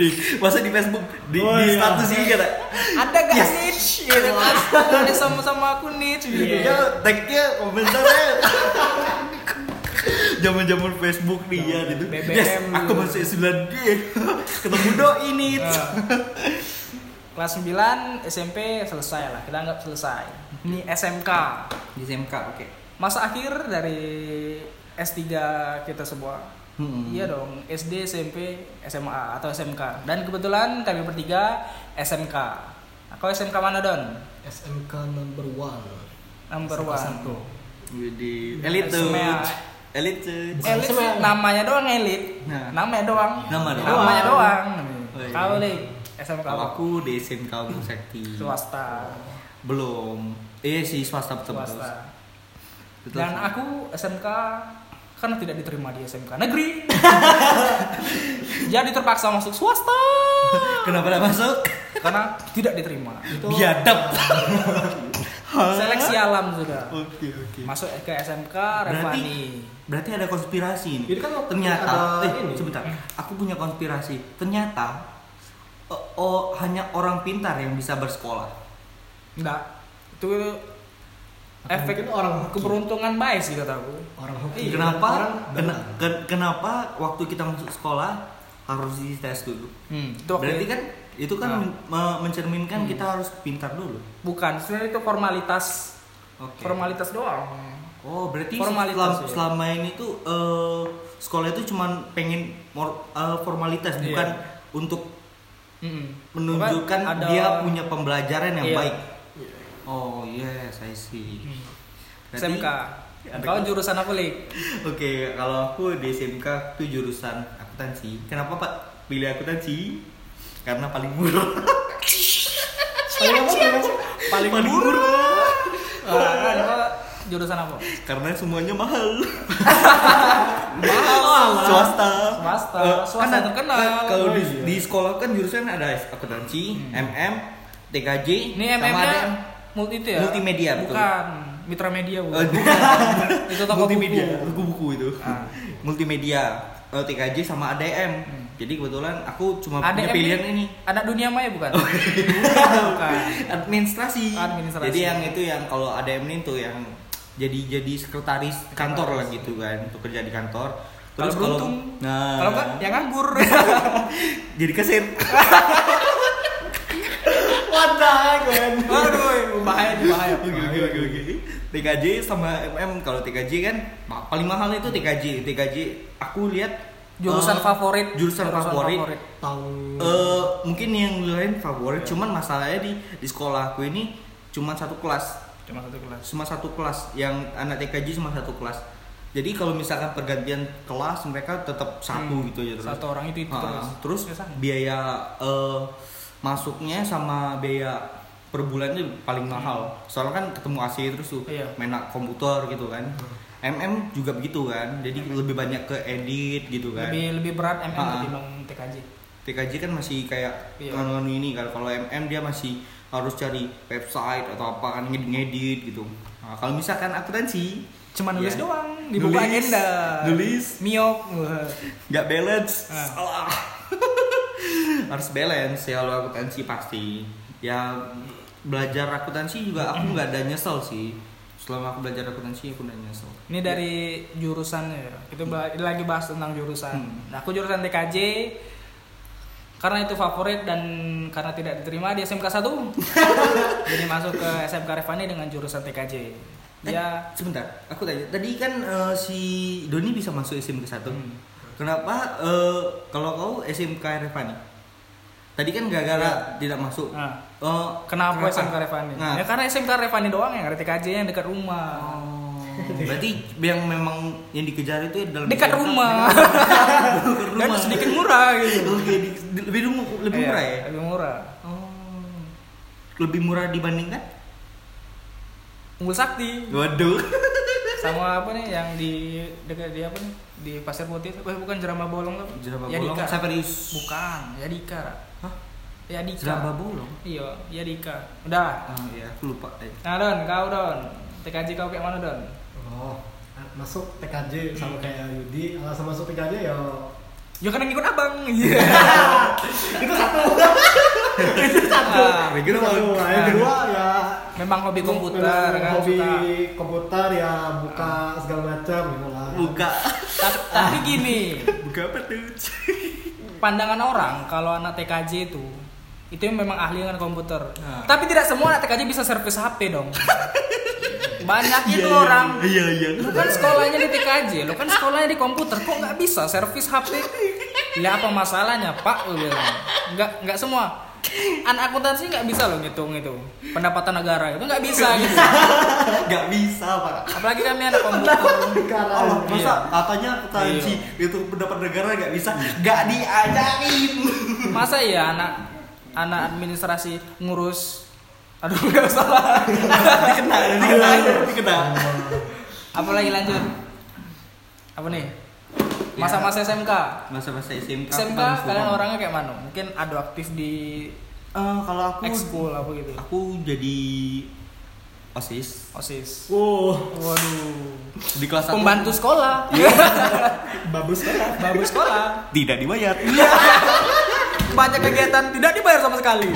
Speaker 1: Di- masa di Facebook di,
Speaker 2: Oh,
Speaker 1: di
Speaker 2: iya.
Speaker 1: status ini kata.
Speaker 3: ada gak
Speaker 1: Yes.
Speaker 3: niche gitu kan ada sama sama aku niche gitu
Speaker 2: Iya.
Speaker 1: Ya, tag-nya komentarnya. Zaman-zaman Facebook nih ya gitu.
Speaker 3: BBM
Speaker 1: Yes, aku
Speaker 3: dulu.
Speaker 1: masuk 9G. Ketemu doi nih.
Speaker 2: Ah.
Speaker 3: Nah, kelas 9 SMP selesai lah kita anggap selesai ini SMK
Speaker 1: Di SMK, oke.
Speaker 3: masa akhir dari S3 kita semua
Speaker 1: Hmm.
Speaker 3: iya dong SD SMP SMA atau SMK dan kebetulan kami bertiga SMK aku SMK mana don
Speaker 2: SMK number one.
Speaker 3: number
Speaker 2: SMK
Speaker 3: one
Speaker 2: satu.
Speaker 1: Jadi elit tuh.
Speaker 3: Semea.
Speaker 1: Elit tuh.
Speaker 3: elit
Speaker 2: Sama.
Speaker 3: sih, namanya doang elit
Speaker 1: Nah.
Speaker 3: namanya doang
Speaker 1: Nama doang.
Speaker 3: namanya doang
Speaker 1: Oh, iya.
Speaker 3: kau nih SMK
Speaker 1: Kalau
Speaker 3: apa?
Speaker 1: aku di SMK Agung Sakti.
Speaker 3: swasta
Speaker 1: Belum. Eh si swasta betul
Speaker 3: swasta
Speaker 1: betul.
Speaker 3: dan aku SMK karena tidak diterima di SMK negeri jadi terpaksa masuk swasta
Speaker 1: Kenapa tidak masuk?
Speaker 3: karena tidak diterima
Speaker 2: Itu
Speaker 1: Biadab.
Speaker 3: seleksi alam sudah
Speaker 1: Oke oke.
Speaker 3: masuk ke SMK
Speaker 1: Oh, iya. Berarti
Speaker 3: Revani
Speaker 1: berarti ada konspirasi
Speaker 2: Itu
Speaker 1: ini.
Speaker 2: kan waktu
Speaker 1: ternyata
Speaker 2: ada
Speaker 1: eh,
Speaker 2: ini.
Speaker 1: sebentar. Aku punya konspirasi. Ternyata eh, oh, hanya orang pintar yang bisa bersekolah.
Speaker 3: enggak itu
Speaker 2: Atau
Speaker 3: efek
Speaker 2: mungkin orang hoki.
Speaker 3: keberuntungan baik sih kataku
Speaker 2: orang hoki.
Speaker 1: kenapa
Speaker 2: Iya, Orang
Speaker 1: kena- ken- kenapa waktu kita masuk sekolah harus dites dulu?
Speaker 3: hmm, itu waktu
Speaker 1: Berarti
Speaker 3: itu.
Speaker 1: kan itu kan
Speaker 3: Nah.
Speaker 1: men- me- mencerminkan kita harus pintar dulu.
Speaker 3: bukan sebenarnya itu formalitas
Speaker 1: Oke.
Speaker 3: formalitas doang
Speaker 1: Oh, berarti setelah-
Speaker 3: Formalitas, iya.
Speaker 1: selama ini tuh eh, sekolah itu cuman pengen mor- eh, formalitas
Speaker 3: Iya.
Speaker 1: bukan untuk
Speaker 3: Mm-mm.
Speaker 1: menunjukkan
Speaker 3: Bahkan ada-
Speaker 1: dia punya pembelajaran yang
Speaker 3: Iya.
Speaker 1: baik. Oh, yes, I see.
Speaker 3: Hmm.
Speaker 1: Berarti- ya,
Speaker 3: SMK.
Speaker 1: ada-
Speaker 3: Kau jurusan apa, Lik?
Speaker 1: Oke, kalau aku di SMK tuh jurusan akuntansi. Kenapa, Pak? Pilih akuntansi? Karena paling murah.
Speaker 2: Paling apa? Paling apa?
Speaker 1: paling murah.
Speaker 3: Ah, kan, kau jurusan apa?
Speaker 1: Karena semuanya mahal.
Speaker 3: Mahal.
Speaker 1: swasta
Speaker 3: Swasta.
Speaker 1: Eh,
Speaker 3: Swasta
Speaker 1: kan-
Speaker 3: terkenal.
Speaker 1: kan kalau di,
Speaker 2: Oh, iya.
Speaker 1: di sekolah kan jurusan ada akuntansi MM TKJ
Speaker 3: Hmm. Ini
Speaker 1: sama
Speaker 3: MM
Speaker 1: ada
Speaker 3: nya
Speaker 1: M-
Speaker 3: multi itu ya?
Speaker 1: Multimedia, betul.
Speaker 3: Bukan. Mitra media, Bu.
Speaker 1: Eh, bukan.
Speaker 3: itu toko
Speaker 1: multimedia
Speaker 3: buku.
Speaker 1: buku-buku itu
Speaker 3: Ah.
Speaker 1: multimedia eh, TKJ sama ADM
Speaker 3: Hmm.
Speaker 1: jadi kebetulan aku cuma
Speaker 3: Ada
Speaker 1: punya pilihan ini Oh.
Speaker 3: Anak dunia maya bukan? bukan. bukan.
Speaker 1: administrasi.
Speaker 3: Administrasi.
Speaker 1: jadi yang itu yang kalau ADM ini tuh yang jadi jadi sekretaris kantor lah gitu kan untuk kerja di kantor
Speaker 3: Kalau beruntung.
Speaker 1: nah Oh.
Speaker 3: Kalau enggak ya nganggur.
Speaker 1: jadi kasir
Speaker 2: What the heck, man?
Speaker 3: Waduh, bahaya nih, bahaya.
Speaker 1: Oke, oke, oke. TKJ sama MM kalau TKJ kan ma- paling mahal itu TKJ TKJ aku lihat
Speaker 3: Jurusan
Speaker 1: eh,
Speaker 3: favorit.
Speaker 1: jurusan, favorit,
Speaker 2: Tahun
Speaker 1: Eh, mungkin yang lain favorit cuman masalahnya di di sekolah aku ini cuman satu kelas
Speaker 3: Cuma satu kelas.
Speaker 1: cuma satu kelas yang anak TKJ cuma satu kelas jadi kalau misalkan pergantian kelas mereka tetap satu
Speaker 3: Hmm,
Speaker 1: gitu aja terus
Speaker 3: Satu orang itu itu
Speaker 1: Ah,
Speaker 3: terus.
Speaker 1: terus
Speaker 3: Biasa.
Speaker 1: biaya eh, masuknya sama biaya per bulannya paling mahal soalnya kan ketemu AC terus tuh
Speaker 3: Hmm. Iya. Hmm.
Speaker 1: main komputer gitu kan MM juga begitu kan jadi lebih banyak ke edit gitu kan
Speaker 3: lebih lebih berat MM
Speaker 1: Ah.
Speaker 3: ketimbang TKJ.
Speaker 1: TKJ kan masih kayak
Speaker 3: Iya.
Speaker 1: nganu-nganu ini kan kalau MM dia masih harus cari website atau apa kan ngedit, ngedit gitu nah, kalau misalkan akuntansi
Speaker 3: Cuma nulis
Speaker 1: Iya.
Speaker 3: doang, dibuka
Speaker 1: Nulis,
Speaker 3: agenda.
Speaker 1: nulis.
Speaker 3: Miok.
Speaker 1: nggak balance
Speaker 3: Ah.
Speaker 1: salah harus balance ya kalau akuntansi pasti ya belajar akuntansi juga aku nggak ada nyesel sih selama aku belajar akuntansi aku nggak nyesel
Speaker 3: Ini dari jurusan ya. Itu ba- lagi bahas tentang jurusan.
Speaker 1: Hmm.
Speaker 3: Nah, aku jurusan TKJ karena itu favorit dan karena tidak diterima di SMK 1 jadi masuk ke SMK Revani dengan jurusan TKJ
Speaker 1: Eh,
Speaker 3: dia
Speaker 1: sebentar aku tanya tadi kan eh, si Doni bisa masuk SMK 1
Speaker 3: Hmm.
Speaker 1: kenapa eh, kalau kau SMK Revani tadi kan gara-gara tidak masuk
Speaker 3: Ah.
Speaker 1: Eh,
Speaker 3: Kenapa SMK Revani?
Speaker 1: Nah.
Speaker 3: Ya karena SMK Revani doang yang ada TKJ yang dekat rumah.
Speaker 1: Oh,
Speaker 2: Eh,
Speaker 1: berarti yang memang yang dikejar itu dalam
Speaker 3: Dekat rumah. Dan
Speaker 1: rumah. Oh,
Speaker 3: sedikit murah gitu.
Speaker 1: lebih lebih murah- lebih
Speaker 3: Iya,
Speaker 1: murah ya
Speaker 3: Lebih murah.
Speaker 1: oh lebih murah dibandingkan
Speaker 3: Unggul Sakti
Speaker 1: waduh
Speaker 3: sama apa nih yang di dekat di apa nih? Di Pasir Putih. Eh bukan Jerama Bolong Ya, apa?
Speaker 1: jeraba bolong
Speaker 3: Yadika.
Speaker 1: Saverius
Speaker 3: Bukan, ya Yadika.
Speaker 1: Hah?
Speaker 3: Yadika.
Speaker 1: jeraba bolong
Speaker 3: Ya Iya, Yadika. Udah.
Speaker 1: ah iya aku lupa eh.
Speaker 3: Nah, Don, kau Don. TKJ kau kayak mana, Don?
Speaker 2: Oh, masuk TKJ sama kayak Yudi. Alasan masuk TKJ ya
Speaker 3: Ya karena ngikut abang. Iya.
Speaker 2: itu satu. itu satu.
Speaker 3: Ah,
Speaker 1: Mikir
Speaker 2: Itu
Speaker 1: mau-
Speaker 2: satu. Yang kedua ya
Speaker 3: Memang hobi komputer
Speaker 2: memang
Speaker 3: kan
Speaker 2: hobi
Speaker 3: suka.
Speaker 2: komputer ya buka segala macam gitu lah.
Speaker 1: buka
Speaker 3: tapi, tapi gini
Speaker 1: buka apa tuh
Speaker 3: pandangan orang kalau anak TKJ itu itu memang ahli dengan komputer
Speaker 1: Nah.
Speaker 3: tapi tidak semua anak TKJ bisa servis HP dong banyak
Speaker 1: Iya,
Speaker 3: itu
Speaker 1: iya,
Speaker 3: orang
Speaker 1: iya iya
Speaker 3: lu kan sekolahnya di TKJ lu kan sekolahnya di komputer kok nggak bisa servis HP ya apa masalahnya pak lu bilang nggak nggak semua anak akuntansi nggak bisa loh ngitung itu pendapatan negara itu nggak bisa gitu
Speaker 1: nggak bisa pak
Speaker 3: apalagi kami anak komputer
Speaker 2: Negara.
Speaker 1: Allah Oh,
Speaker 3: Iya.
Speaker 1: masa katanya akuntansi itu pendapat negara nggak bisa nggak diajarin
Speaker 3: masa ya anak anak administrasi ngurus aduh nggak salah Nah,
Speaker 1: dikenal dikenal dikenal
Speaker 3: apalagi lanjut apa nih
Speaker 1: Ya.
Speaker 3: masa-masa SMK
Speaker 1: masa-masa SMK paling
Speaker 3: SMK
Speaker 1: suram.
Speaker 3: kalian orangnya kayak mana mungkin ada aktif di
Speaker 1: Eh, kalau aku
Speaker 3: ekskul apa gitu
Speaker 1: aku jadi osis
Speaker 3: osis
Speaker 2: Wow,
Speaker 3: waduh
Speaker 1: di kelas satu- Iya.
Speaker 3: pembantu sekolah
Speaker 2: bagus kan?
Speaker 3: babu sekolah
Speaker 1: tidak dibayar
Speaker 3: banyak kegiatan tidak dibayar sama sekali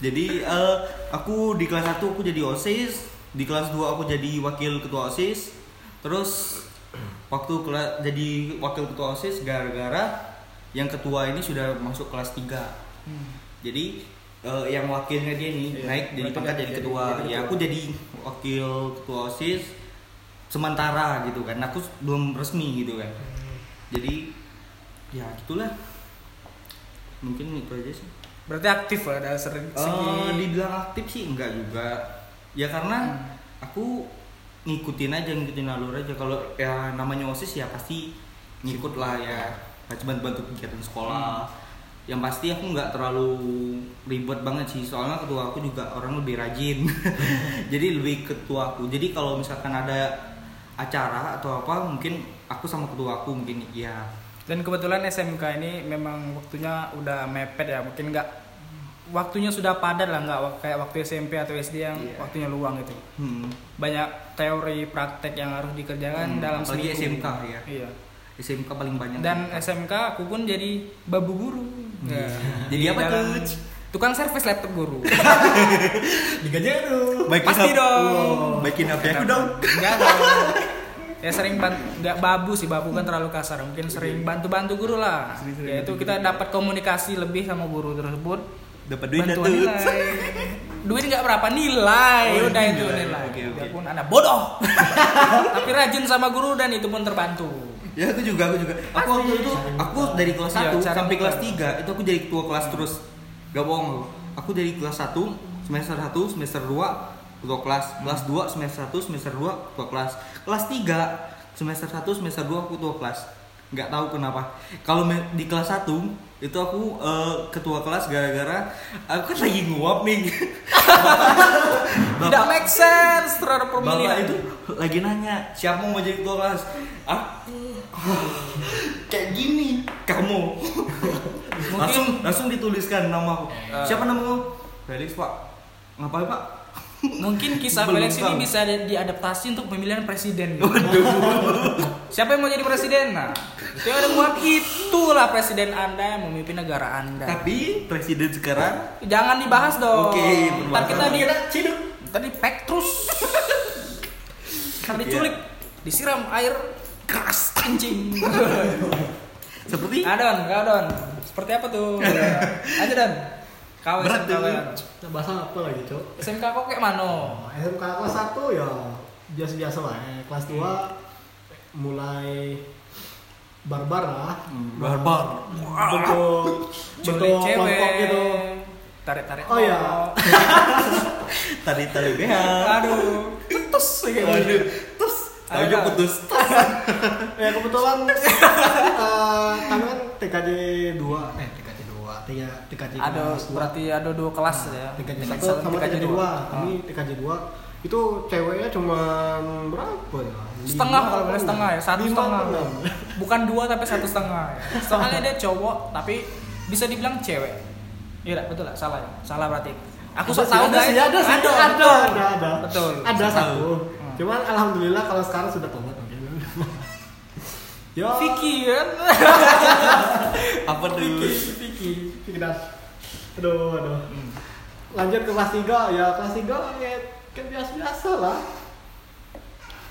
Speaker 1: jadi eh, aku di kelas 1 aku jadi osis di kelas 2 aku jadi wakil ketua osis terus waktu kela- jadi wakil ketua osis gara-gara yang ketua ini sudah masuk kelas 3 jadi eh, yang wakilnya dia nih
Speaker 2: Iya,
Speaker 1: naik dari
Speaker 2: berarti
Speaker 1: pangkat
Speaker 2: nggak
Speaker 1: jadi
Speaker 2: jadi-
Speaker 1: ketua
Speaker 2: jadi
Speaker 1: ya
Speaker 2: ketua.
Speaker 1: aku jadi wakil ketua osis sementara gitu kan aku s- belum resmi gitu kan
Speaker 2: Hmm.
Speaker 1: jadi ya gitulah mungkin itu aja sih
Speaker 3: berarti aktif lah ada sering
Speaker 1: Eh, dibilang aktif sih enggak juga ya
Speaker 3: Hmm.
Speaker 1: karena aku ngikutin aja ngikutin alur aja kalau ya namanya osis ya pasti ngikut lah ya Nggak cuma bantu kegiatan sekolah
Speaker 3: Hmm.
Speaker 1: yang pasti aku nggak terlalu ribet banget sih soalnya ketua aku juga orang lebih rajin jadi lebih ketua aku jadi kalau misalkan ada acara atau apa mungkin aku sama ketua aku mungkin ya
Speaker 3: Dan kebetulan SMK ini memang waktunya udah mepet ya, mungkin nggak waktunya sudah padat lah nggak wak- kayak waktu SMP atau SD yang
Speaker 1: Iya.
Speaker 3: waktunya luang gitu.
Speaker 1: hmm,
Speaker 3: Banyak teori praktek yang harus
Speaker 1: Hmm,
Speaker 3: dikerjakan dalam
Speaker 1: apalagi SMK
Speaker 3: seminggu.
Speaker 1: ya.
Speaker 3: Iya.
Speaker 1: SMK paling banyak
Speaker 3: Dan SMK aku pun jadi babu guru. Nah,
Speaker 1: Iya. Jadi
Speaker 3: di
Speaker 1: apa
Speaker 3: dalam
Speaker 1: tuh?
Speaker 3: tukang servis laptop guru
Speaker 2: digaji aduh
Speaker 1: Baikin
Speaker 3: pasti
Speaker 1: hap-
Speaker 3: dong
Speaker 1: Baikin HP aku dong.
Speaker 3: enggak dong ya sering ban nggak babu sih babu kan terlalu kasar
Speaker 1: Iya.
Speaker 3: mungkin sering bantu bantu guru lah
Speaker 1: Sering-sering
Speaker 3: yaitu kita dapat komunikasi lebih sama guru tersebut
Speaker 1: Dapat duit dah
Speaker 3: bantuan
Speaker 1: tuh.
Speaker 3: nilai duit nggak berapa nilai
Speaker 1: Oh,
Speaker 3: udah itu
Speaker 1: nilai.
Speaker 3: nilai
Speaker 1: Oke, oke.
Speaker 3: biarpun anda bodoh tapi rajin sama guru dan itu pun terbantu
Speaker 1: Ya aku juga, aku juga. Aku waktu itu aku dari kelas
Speaker 3: Iya,
Speaker 1: 1
Speaker 3: cara
Speaker 1: sampai
Speaker 3: muka.
Speaker 1: kelas 3 itu aku jadi ketua kelas terus. Gak bohong aku. Aku dari kelas 1 semester 1, semester 2 ketua kelas, kelas 2 semester 1, semester 2 ketua kelas. Kelas 3 semester 1, semester 2 aku ketua kelas. Nggak tahu kenapa. Kalau me- di kelas 1 itu aku eh, ketua kelas gara-gara aku kan lagi nguap nih.
Speaker 3: tidak make sense terhadap
Speaker 1: Bapak
Speaker 3: pemilihan
Speaker 1: itu lagi nanya siapa mau jadi ketua kelas? Aku.
Speaker 3: Iya.
Speaker 1: Kayak gini kamu. langsung langsung dituliskan nama aku.
Speaker 3: Eh.
Speaker 1: Siapa namamu? Felix pak. Ngapain pak?
Speaker 3: mungkin kisah
Speaker 1: Belum
Speaker 3: Felix
Speaker 1: tahu.
Speaker 3: ini bisa di- diadaptasi untuk pemilihan presiden siapa yang mau jadi presiden nah itu ada nguap itulah presiden anda yang memimpin negara anda
Speaker 1: Tapi presiden sekarang
Speaker 3: jangan dibahas dong
Speaker 1: Oke, bermasalah.
Speaker 3: ntar kita di ciduk tadi pektrus ntar diculik
Speaker 2: Iya.
Speaker 3: disiram air keras kencing
Speaker 1: seperti
Speaker 3: adon kau don seperti apa tuh aja don kau
Speaker 1: Berat
Speaker 3: SMK
Speaker 1: tuh.
Speaker 3: kau, Don.
Speaker 2: Nah, bahasa apa lagi cok
Speaker 3: SMK kau kayak mano
Speaker 2: Nah, SMK kelas 1 ya biasa-biasa lah ya. kelas 2 mulai barbar lah
Speaker 1: barbar.
Speaker 2: bentuk
Speaker 3: culik
Speaker 2: bentuk
Speaker 3: cewek
Speaker 2: kelompok gitu
Speaker 3: tarik tarik
Speaker 2: Oh, iya.
Speaker 1: Tadi tadi BH.
Speaker 3: Ah. aduh tetus kayak gitu.
Speaker 1: Waduh, Terus
Speaker 3: Ada.
Speaker 1: aja putus.
Speaker 3: Ah.
Speaker 2: ya kebetulan eh, kami kan TKJ 2 eh TKJ 2 tiga TKJ
Speaker 3: ada
Speaker 2: kelas dua. Nah,
Speaker 3: berarti ada dua kelas ya
Speaker 2: TKJ
Speaker 3: Tingkat
Speaker 2: satu sama TKJ dua kami
Speaker 3: Ah.
Speaker 2: TKJ dua itu ceweknya cuma berapa ya
Speaker 3: setengah
Speaker 2: Lima
Speaker 3: kalau
Speaker 2: apa
Speaker 3: boleh setengah ya satu
Speaker 2: Lima
Speaker 3: setengah
Speaker 2: apa enam?
Speaker 3: bukan dua tapi satu setengah ya. soalnya dia cowok tapi bisa dibilang cewek iya nggak? betul lah salah ya salah berarti aku sok
Speaker 2: sih,
Speaker 3: tahu
Speaker 2: ada
Speaker 3: guys
Speaker 2: sih, ada sih, ada
Speaker 3: Betul.
Speaker 2: ada ada ada
Speaker 3: Betul. Ah.
Speaker 2: ada
Speaker 1: Tahu.
Speaker 2: satu cuman alhamdulillah kalau sekarang sudah tobat mungkin yo
Speaker 3: Vicky kan
Speaker 1: Apa tuh?
Speaker 2: Vicky Vicky Das aduh aduh
Speaker 3: Hmm.
Speaker 2: lanjut ke kelas 3 ya kelas 3 ya kayak biasa biasa lah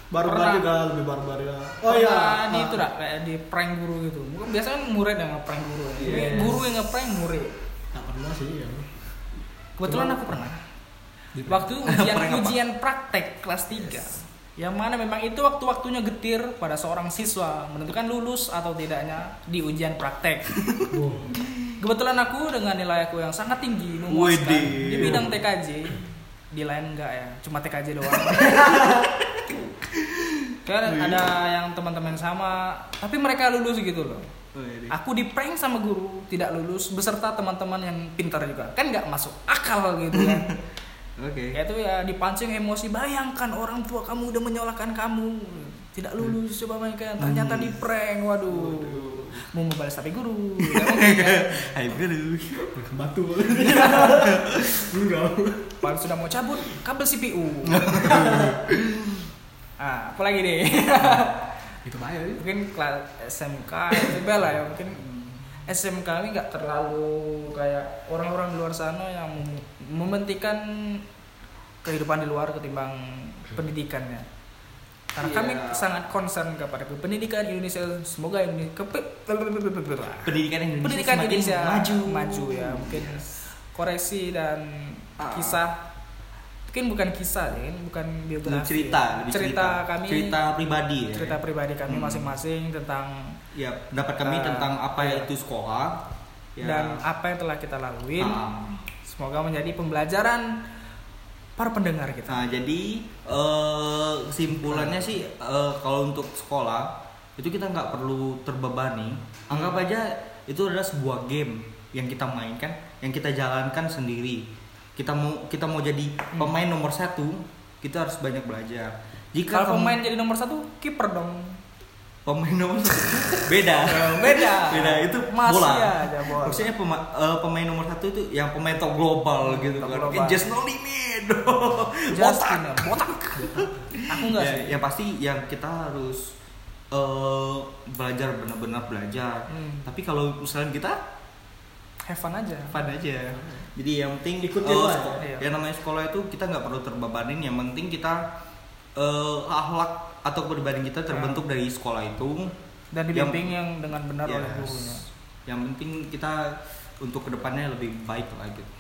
Speaker 2: barbar
Speaker 3: Pernah.
Speaker 2: juga lebih barbar ya oh iya
Speaker 3: Pernah di
Speaker 2: Ah.
Speaker 3: itu dah kayak di prank guru gitu bukan biasanya kan murid yang ngeprank guru ya. Ini
Speaker 2: Yes.
Speaker 3: guru yang ngeprank murid
Speaker 2: tak pernah sih ya
Speaker 3: kebetulan
Speaker 2: Cuman-
Speaker 3: aku pernah waktu ujian
Speaker 1: Prank apa?
Speaker 3: ujian praktek kelas 3 yang mana memang itu waktu-waktunya getir pada seorang siswa menentukan lulus atau tidaknya di ujian praktek
Speaker 2: Wow.
Speaker 3: Kebetulan aku dengan nilai aku yang sangat tinggi memuaskan
Speaker 1: Widih.
Speaker 3: di bidang TKJ, di lain enggak ya, cuma TKJ doang. kan ada yang teman-teman sama, tapi mereka lulus gitu loh.
Speaker 1: Oh, Iya.
Speaker 3: Aku di prank sama guru, tidak lulus beserta teman-teman yang pintar juga. Kan nggak masuk akal gitu kan.
Speaker 1: Oke.
Speaker 3: Ya itu ya dipancing emosi, bayangkan orang tua kamu udah menyalahkan kamu. Tidak lulus coba mainkan, ternyata di prank. Waduh. Mau membalas tapi guru. Nggak mungkin, kan?
Speaker 1: Hai guru.
Speaker 2: batu enggak
Speaker 3: Baru sudah mau cabut, kabel CPU. ah, apa lagi nih?
Speaker 2: itu bahaya ya.
Speaker 3: mungkin kelas SMK, SMK lah ya mungkin SMK ini nggak terlalu kayak orang-orang di luar sana yang mem- mementingkan kehidupan di luar ketimbang pendidikannya. Karena kami
Speaker 1: Iya.
Speaker 3: sangat concern kepada pendidikan Indonesia. Semoga ini ke
Speaker 1: Pendidikan Indonesia.
Speaker 3: pendidikan
Speaker 1: semakin
Speaker 3: Indonesia
Speaker 1: maju.
Speaker 3: maju ya mungkin koreksi dan
Speaker 1: Ah.
Speaker 3: kisah mungkin bukan kisah ya kan bukan
Speaker 1: Lebih
Speaker 3: biografi
Speaker 1: cerita,
Speaker 3: cerita,
Speaker 1: lebih
Speaker 3: kami
Speaker 1: cerita pribadi. ya.
Speaker 3: cerita pribadi kami masing-masing tentang
Speaker 1: ya pendapat kami
Speaker 3: Nah,
Speaker 1: tentang apa
Speaker 3: iya.
Speaker 1: itu sekolah ya,
Speaker 3: dan apa yang telah kita lalui
Speaker 1: Ah.
Speaker 3: semoga menjadi pembelajaran para pendengar kita
Speaker 1: nah jadi eh, kesimpulannya sih eh, kalau untuk sekolah itu kita nggak perlu terbebani
Speaker 3: Hmm.
Speaker 1: anggap aja itu adalah sebuah game yang kita mainkan yang kita jalankan sendiri kita mau kita mau jadi
Speaker 3: Hmm.
Speaker 1: pemain nomor satu kita harus banyak belajar jika
Speaker 3: kalau
Speaker 1: kamu-
Speaker 3: pemain jadi nomor satu kiper dong
Speaker 1: pemain nomor satu beda
Speaker 3: Oh, beda
Speaker 1: beda itu
Speaker 3: masih
Speaker 1: bola.
Speaker 3: aja bola
Speaker 1: Maksudnya pema- eh, pemain nomor satu itu yang pemain top global gitu
Speaker 3: Top
Speaker 1: kan. Eh,
Speaker 3: global.
Speaker 1: Just no limit.
Speaker 3: Justin,
Speaker 1: Botak.
Speaker 3: botak aku nggak
Speaker 1: Ya,
Speaker 3: sih
Speaker 1: yang pasti yang kita harus eh, belajar benar-benar belajar.
Speaker 3: Hmm.
Speaker 1: Tapi kalau misalnya kita
Speaker 3: have fun aja
Speaker 1: fun aja
Speaker 3: Hmm.
Speaker 1: jadi yang penting eh,
Speaker 2: Ikut dewa.
Speaker 1: seko-
Speaker 3: Iya.
Speaker 1: yang namanya sekolah itu kita nggak perlu terbebanin yang penting kita eh, akhlak atau kepribadian kita
Speaker 3: Hmm.
Speaker 1: terbentuk dari sekolah itu Yang-
Speaker 3: dan dibimbing yang, dengan benar oleh
Speaker 1: Yes.
Speaker 3: gurunya
Speaker 1: yang penting kita untuk kedepannya lebih baik lah gitu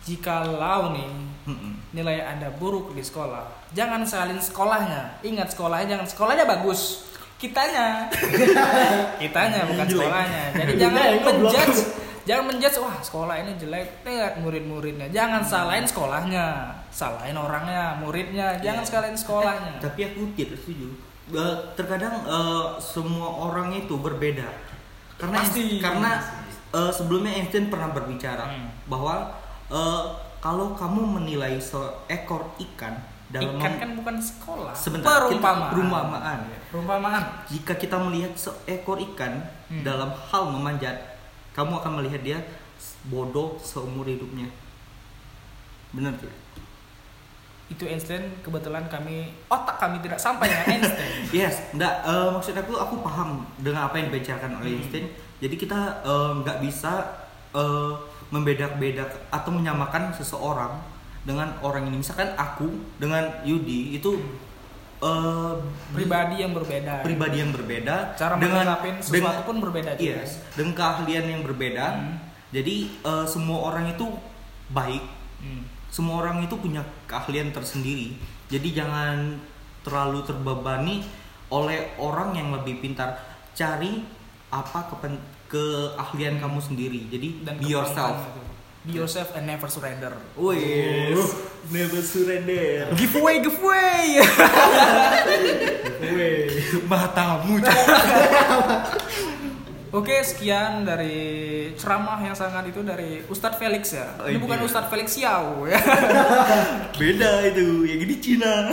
Speaker 3: jikalau nih
Speaker 1: Mm-mm.
Speaker 3: nilai Anda buruk di sekolah, jangan salin sekolahnya. Ingat sekolahnya jangan sekolahnya bagus. Kitanya. Kitanya bukan sekolahnya. Jadi jangan
Speaker 2: Jelek, goblok.
Speaker 3: menjudge jangan menjudge wah sekolah ini jelek lihat murid-muridnya. Jangan salahin sekolahnya, salahin orangnya, muridnya. Jangan
Speaker 1: Iya.
Speaker 3: salahin sekolahnya.
Speaker 1: Eh, tapi aku tidak setuju Eh, terkadang eh, semua orang itu berbeda karena
Speaker 3: Pasti.
Speaker 1: karena eh, sebelumnya Einstein pernah berbicara
Speaker 3: Hmm.
Speaker 1: bahwa eh, kalau kamu menilai seekor ikan dalam
Speaker 3: Ikan kan bukan sekolah.
Speaker 1: sebentar
Speaker 3: perumpamaan.
Speaker 1: kita perumpamaan ya.
Speaker 3: Perumpamaan.
Speaker 1: jika kita melihat seekor ikan
Speaker 3: Hmm.
Speaker 1: dalam hal memanjat kamu akan melihat dia bodoh seumur hidupnya benar tidak
Speaker 3: Itu Einstein kebetulan kami otak kami tidak sampai dengan Einstein.
Speaker 1: Yes, enggak eh, maksud aku aku paham dengan apa yang dibicarakan oleh
Speaker 3: Hmm.
Speaker 1: Einstein. Jadi kita eh, nggak bisa eh, membedak-bedak atau menyamakan seseorang dengan orang ini. Misalkan aku dengan Yudi itu eh,
Speaker 3: Pribadi yang berbeda.
Speaker 1: pribadi yang berbeda
Speaker 3: Cara menangkapin sesuatu pun berbeda juga.
Speaker 1: Yes, dengan keahlian yang berbeda.
Speaker 3: Hmm.
Speaker 1: Jadi eh, semua orang itu baik,
Speaker 3: Hmm.
Speaker 1: semua orang itu punya keahlian tersendiri. Jadi jangan terlalu terbebani oleh orang yang lebih pintar. Cari apa kepen- keahlian kamu sendiri. Jadi be yourself.
Speaker 3: gitu. Be yourself and never surrender.
Speaker 1: Oh yes.
Speaker 2: Never surrender.
Speaker 3: Giveaway, giveaway.
Speaker 2: Weh.
Speaker 1: Matamu.
Speaker 3: Oke, sekian dari ceramah yang sangat itu dari Ustadz Felix ya.
Speaker 1: Oh,
Speaker 3: Ini
Speaker 1: iya.
Speaker 3: bukan Ustadz Felix Yao ya.
Speaker 1: Beda itu. Yang ini Cina.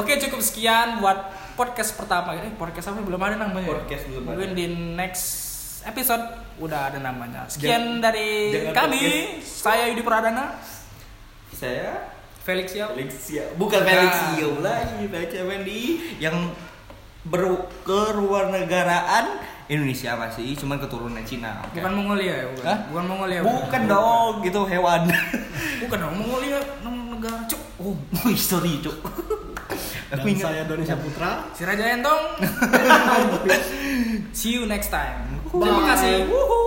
Speaker 3: Oke, cukup sekian buat podcast pertama. Eh, podcast apa belum ada namanya? ya?
Speaker 1: Podcast belum ada.
Speaker 3: Mungkin di next episode udah ada namanya. Sekian dari
Speaker 1: jangan
Speaker 3: kami. Saya Yudi Pradana,
Speaker 1: Saya
Speaker 3: Felix Yao.
Speaker 1: Felixia. Bukan Felixia lagi. Baca Fendi yang berkewarganegaraan Indonesia masih cuman keturunan Cina. Oke.
Speaker 3: Bukan Mongolia ya, bukan.
Speaker 1: Hah?
Speaker 3: Bukan Mongolia.
Speaker 1: Bukan dong, gitu hewan.
Speaker 3: Bukan dong, Mongolia nom- negara. Cuk.
Speaker 1: Oh, wih, sorry, Cuk.
Speaker 2: Dan
Speaker 1: Aku ingat.
Speaker 2: saya Donisha Putra.
Speaker 3: Si Raja Entong. See you next time.
Speaker 2: Bye.
Speaker 3: Terima kasih. Wuhu.